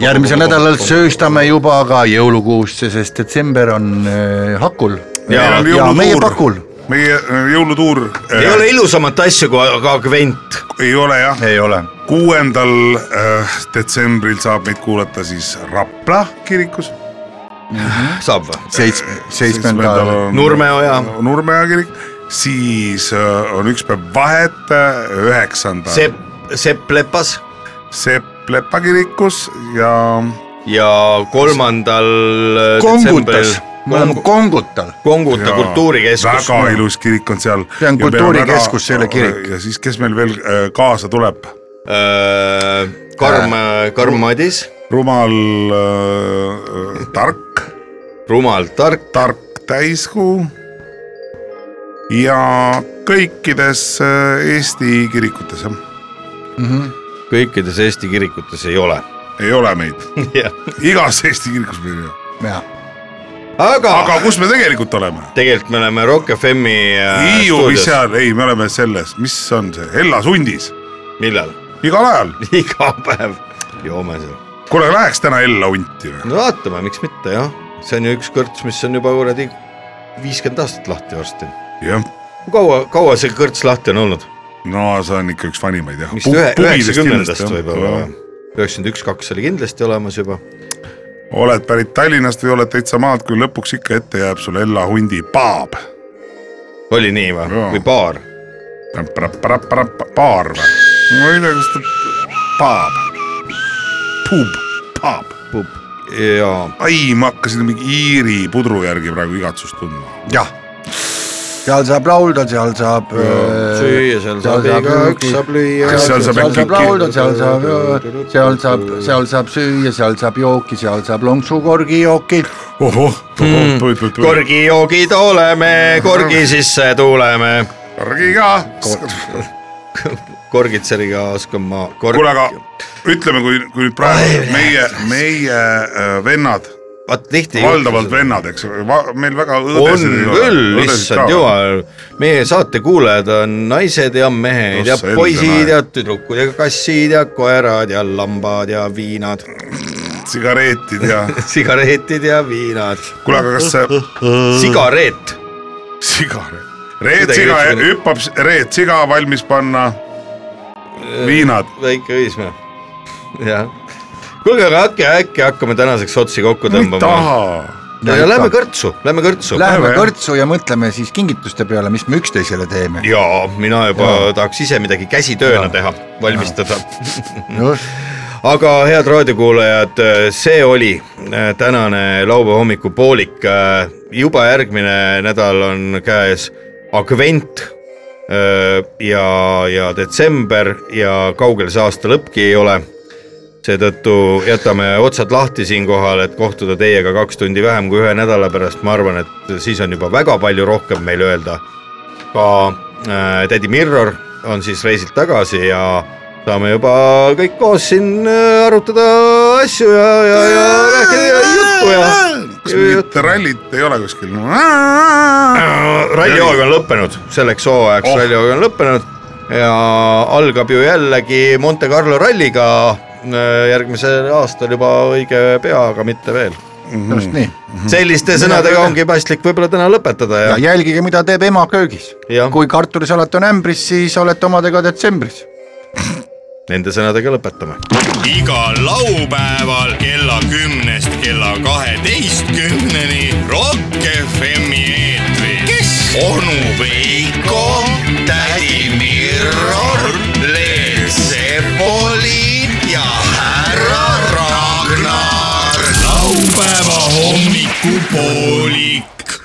Speaker 3: järgmisel nädalal sööstame juba ka jõulukuusse , sest detsember on äh, hakul .
Speaker 4: Meil on
Speaker 3: ja meie
Speaker 4: jõulutuur.
Speaker 3: pakul .
Speaker 4: meie äh, jõulutuur .
Speaker 2: ei ole ilusamat asja kui aga akvent .
Speaker 4: ei ole jah .
Speaker 3: ei ole .
Speaker 4: kuuendal äh, detsembril saab meid kuulata siis Rapla kirikus .
Speaker 2: saab või ?
Speaker 3: seitsme ,
Speaker 4: seitsmendal on
Speaker 2: Nurmeoja .
Speaker 4: Nurmeoja kirik , siis äh, on üks päev vahet , üheksandal .
Speaker 2: Sepp , Sepp Lepas .
Speaker 4: Sepp Lepa kirikus ja .
Speaker 2: ja kolmandal äh, detsembril
Speaker 4: Kongutas.
Speaker 3: me oleme Kongutal .
Speaker 2: Konguta kultuurikeskus .
Speaker 4: väga ilus kirik on seal .
Speaker 3: See on kultuurikeskus, see ei ole kirik.
Speaker 4: ja siis , kes meil veel äh, kaasa tuleb ?
Speaker 2: Äh, Karm , Karm Madis .
Speaker 4: rumal äh, tark .
Speaker 2: rumal tark .
Speaker 4: tark täiskuu . ja kõikides äh, Eesti kirikutes jah ,
Speaker 2: kõikides Eesti kirikutes ei ole .
Speaker 4: ei ole meid . igas Eesti kirikus meil ei ole .
Speaker 2: aga ,
Speaker 4: aga kus me tegelikult oleme ?
Speaker 2: tegelikult me oleme Rock FM-i äh,
Speaker 4: Hiiu , mis
Speaker 2: stuudios .
Speaker 4: seal , ei , me oleme selles , mis on see , Hellas hundis ,
Speaker 2: millal ?
Speaker 4: igal ajal .
Speaker 2: iga päev joome seal .
Speaker 4: kuule , läheks täna Ella hunti või ?
Speaker 2: no vaatame , miks mitte jah , see on ju üks kõrts , mis on juba kuradi viiskümmend aastat lahti varsti .
Speaker 4: jah ,
Speaker 2: kaua , kaua see kõrts lahti on olnud ?
Speaker 4: no see on ikka üks vanimaid jah .
Speaker 2: vist ühe , üheksakümnendast võib-olla või ?? üheksakümmend üks , kaks oli kindlasti olemas juba .
Speaker 4: oled pärit Tallinnast või oled täitsa maalt , kui lõpuks ikka ette jääb sulle Ella hundi paab .
Speaker 2: oli nii või , või baar ?
Speaker 4: paar või ? ma ei tea , kas ta , paab , pub , paab .
Speaker 2: pub , jaa .
Speaker 4: ai , ma hakkasin mingi Iiri pudru järgi praegu igatsust tundma .
Speaker 3: jah , seal saab laulda , seal saab . äh,
Speaker 2: süüa,
Speaker 4: Äh,
Speaker 2: seal saab igaüks saab lüüa.
Speaker 3: seal
Speaker 2: Seal
Speaker 3: saab
Speaker 2: saab
Speaker 3: seal saab
Speaker 2: äkki-
Speaker 3: laulda , seal saab , seal saab , seal saab süüa , seal saab jooki , seal saab lonksukorgi jooki .
Speaker 4: ohoh ,
Speaker 2: Hmm. korgijoogid oleme , korgi sisse tuleme .
Speaker 4: korgiga .
Speaker 2: korgitseriga oskan ma korg... .
Speaker 4: kuule , aga ütleme , kui , kui nüüd praegu meie , meie äh, vennad .
Speaker 2: vaat tihti .
Speaker 4: valdavalt vennad , eks , meil väga .
Speaker 2: on küll , issand jumal , meie saatekuulajad on naised ja mehed
Speaker 4: No
Speaker 2: ja
Speaker 4: Noh, selge
Speaker 2: poisid
Speaker 4: naer.
Speaker 2: ja tüdrukud ja kassid ja koerad ja lambad ja viinad .
Speaker 4: sigaretid ja
Speaker 2: sigaretid ja viinad .
Speaker 4: kuule , aga kas see . Mm.
Speaker 2: sigareet .
Speaker 4: sigaret . Reet siga , hüppab s- Reet siga valmis panna . viinad .
Speaker 2: väike Õismäe . jah . kuulge , aga äkki , äkki hakkame tänaseks otsi kokku tõmbama . ja, ja lähme kõrtsu , lähme kõrtsu .
Speaker 3: Läheme . kõrtsu ja mõtleme siis kingituste peale , mis me üksteisele teeme .
Speaker 2: ja mina juba ja. tahaks ise midagi käsitööna teha , valmistada . aga head raadiokuulajad , see oli äh, tänane laupäeva Äh, hommikupoolik . juba järgmine nädal on käes Akvent äh, ja , ja detsember ja kaugel see aasta lõppki ei ole . seetõttu jätame otsad lahti siinkohal , et kohtuda teiega kaks tundi vähem kui ühe nädala pärast , ma arvan , et siis on juba väga palju rohkem meil öelda . ka äh, tädi Mirror on siis reisilt tagasi ja saame juba kõik koos siin äh, arutada asju ja , ja , ja rääkida juttu ja .
Speaker 4: kas mingit rallit ei ole kuskil ?
Speaker 2: rallihooaeg on lõppenud , selleks hooajaks oh. rallihooaeg on lõppenud ja algab ju jällegi Monte Carlo ralliga äh, järgmisel aastal juba õige pea , aga mitte veel .
Speaker 3: just nii .
Speaker 2: selliste sõnadega ongi paslik võib-olla täna lõpetada ja,
Speaker 3: ja jälgige , mida teeb ema köögis .
Speaker 2: Jah.
Speaker 3: kui kartulisalat on ämbris , siis olete omadega detsembris .
Speaker 2: nende sõnadega lõpetame .
Speaker 1: igal laupäeval kella kümnest kella kaheteistkümneni Rock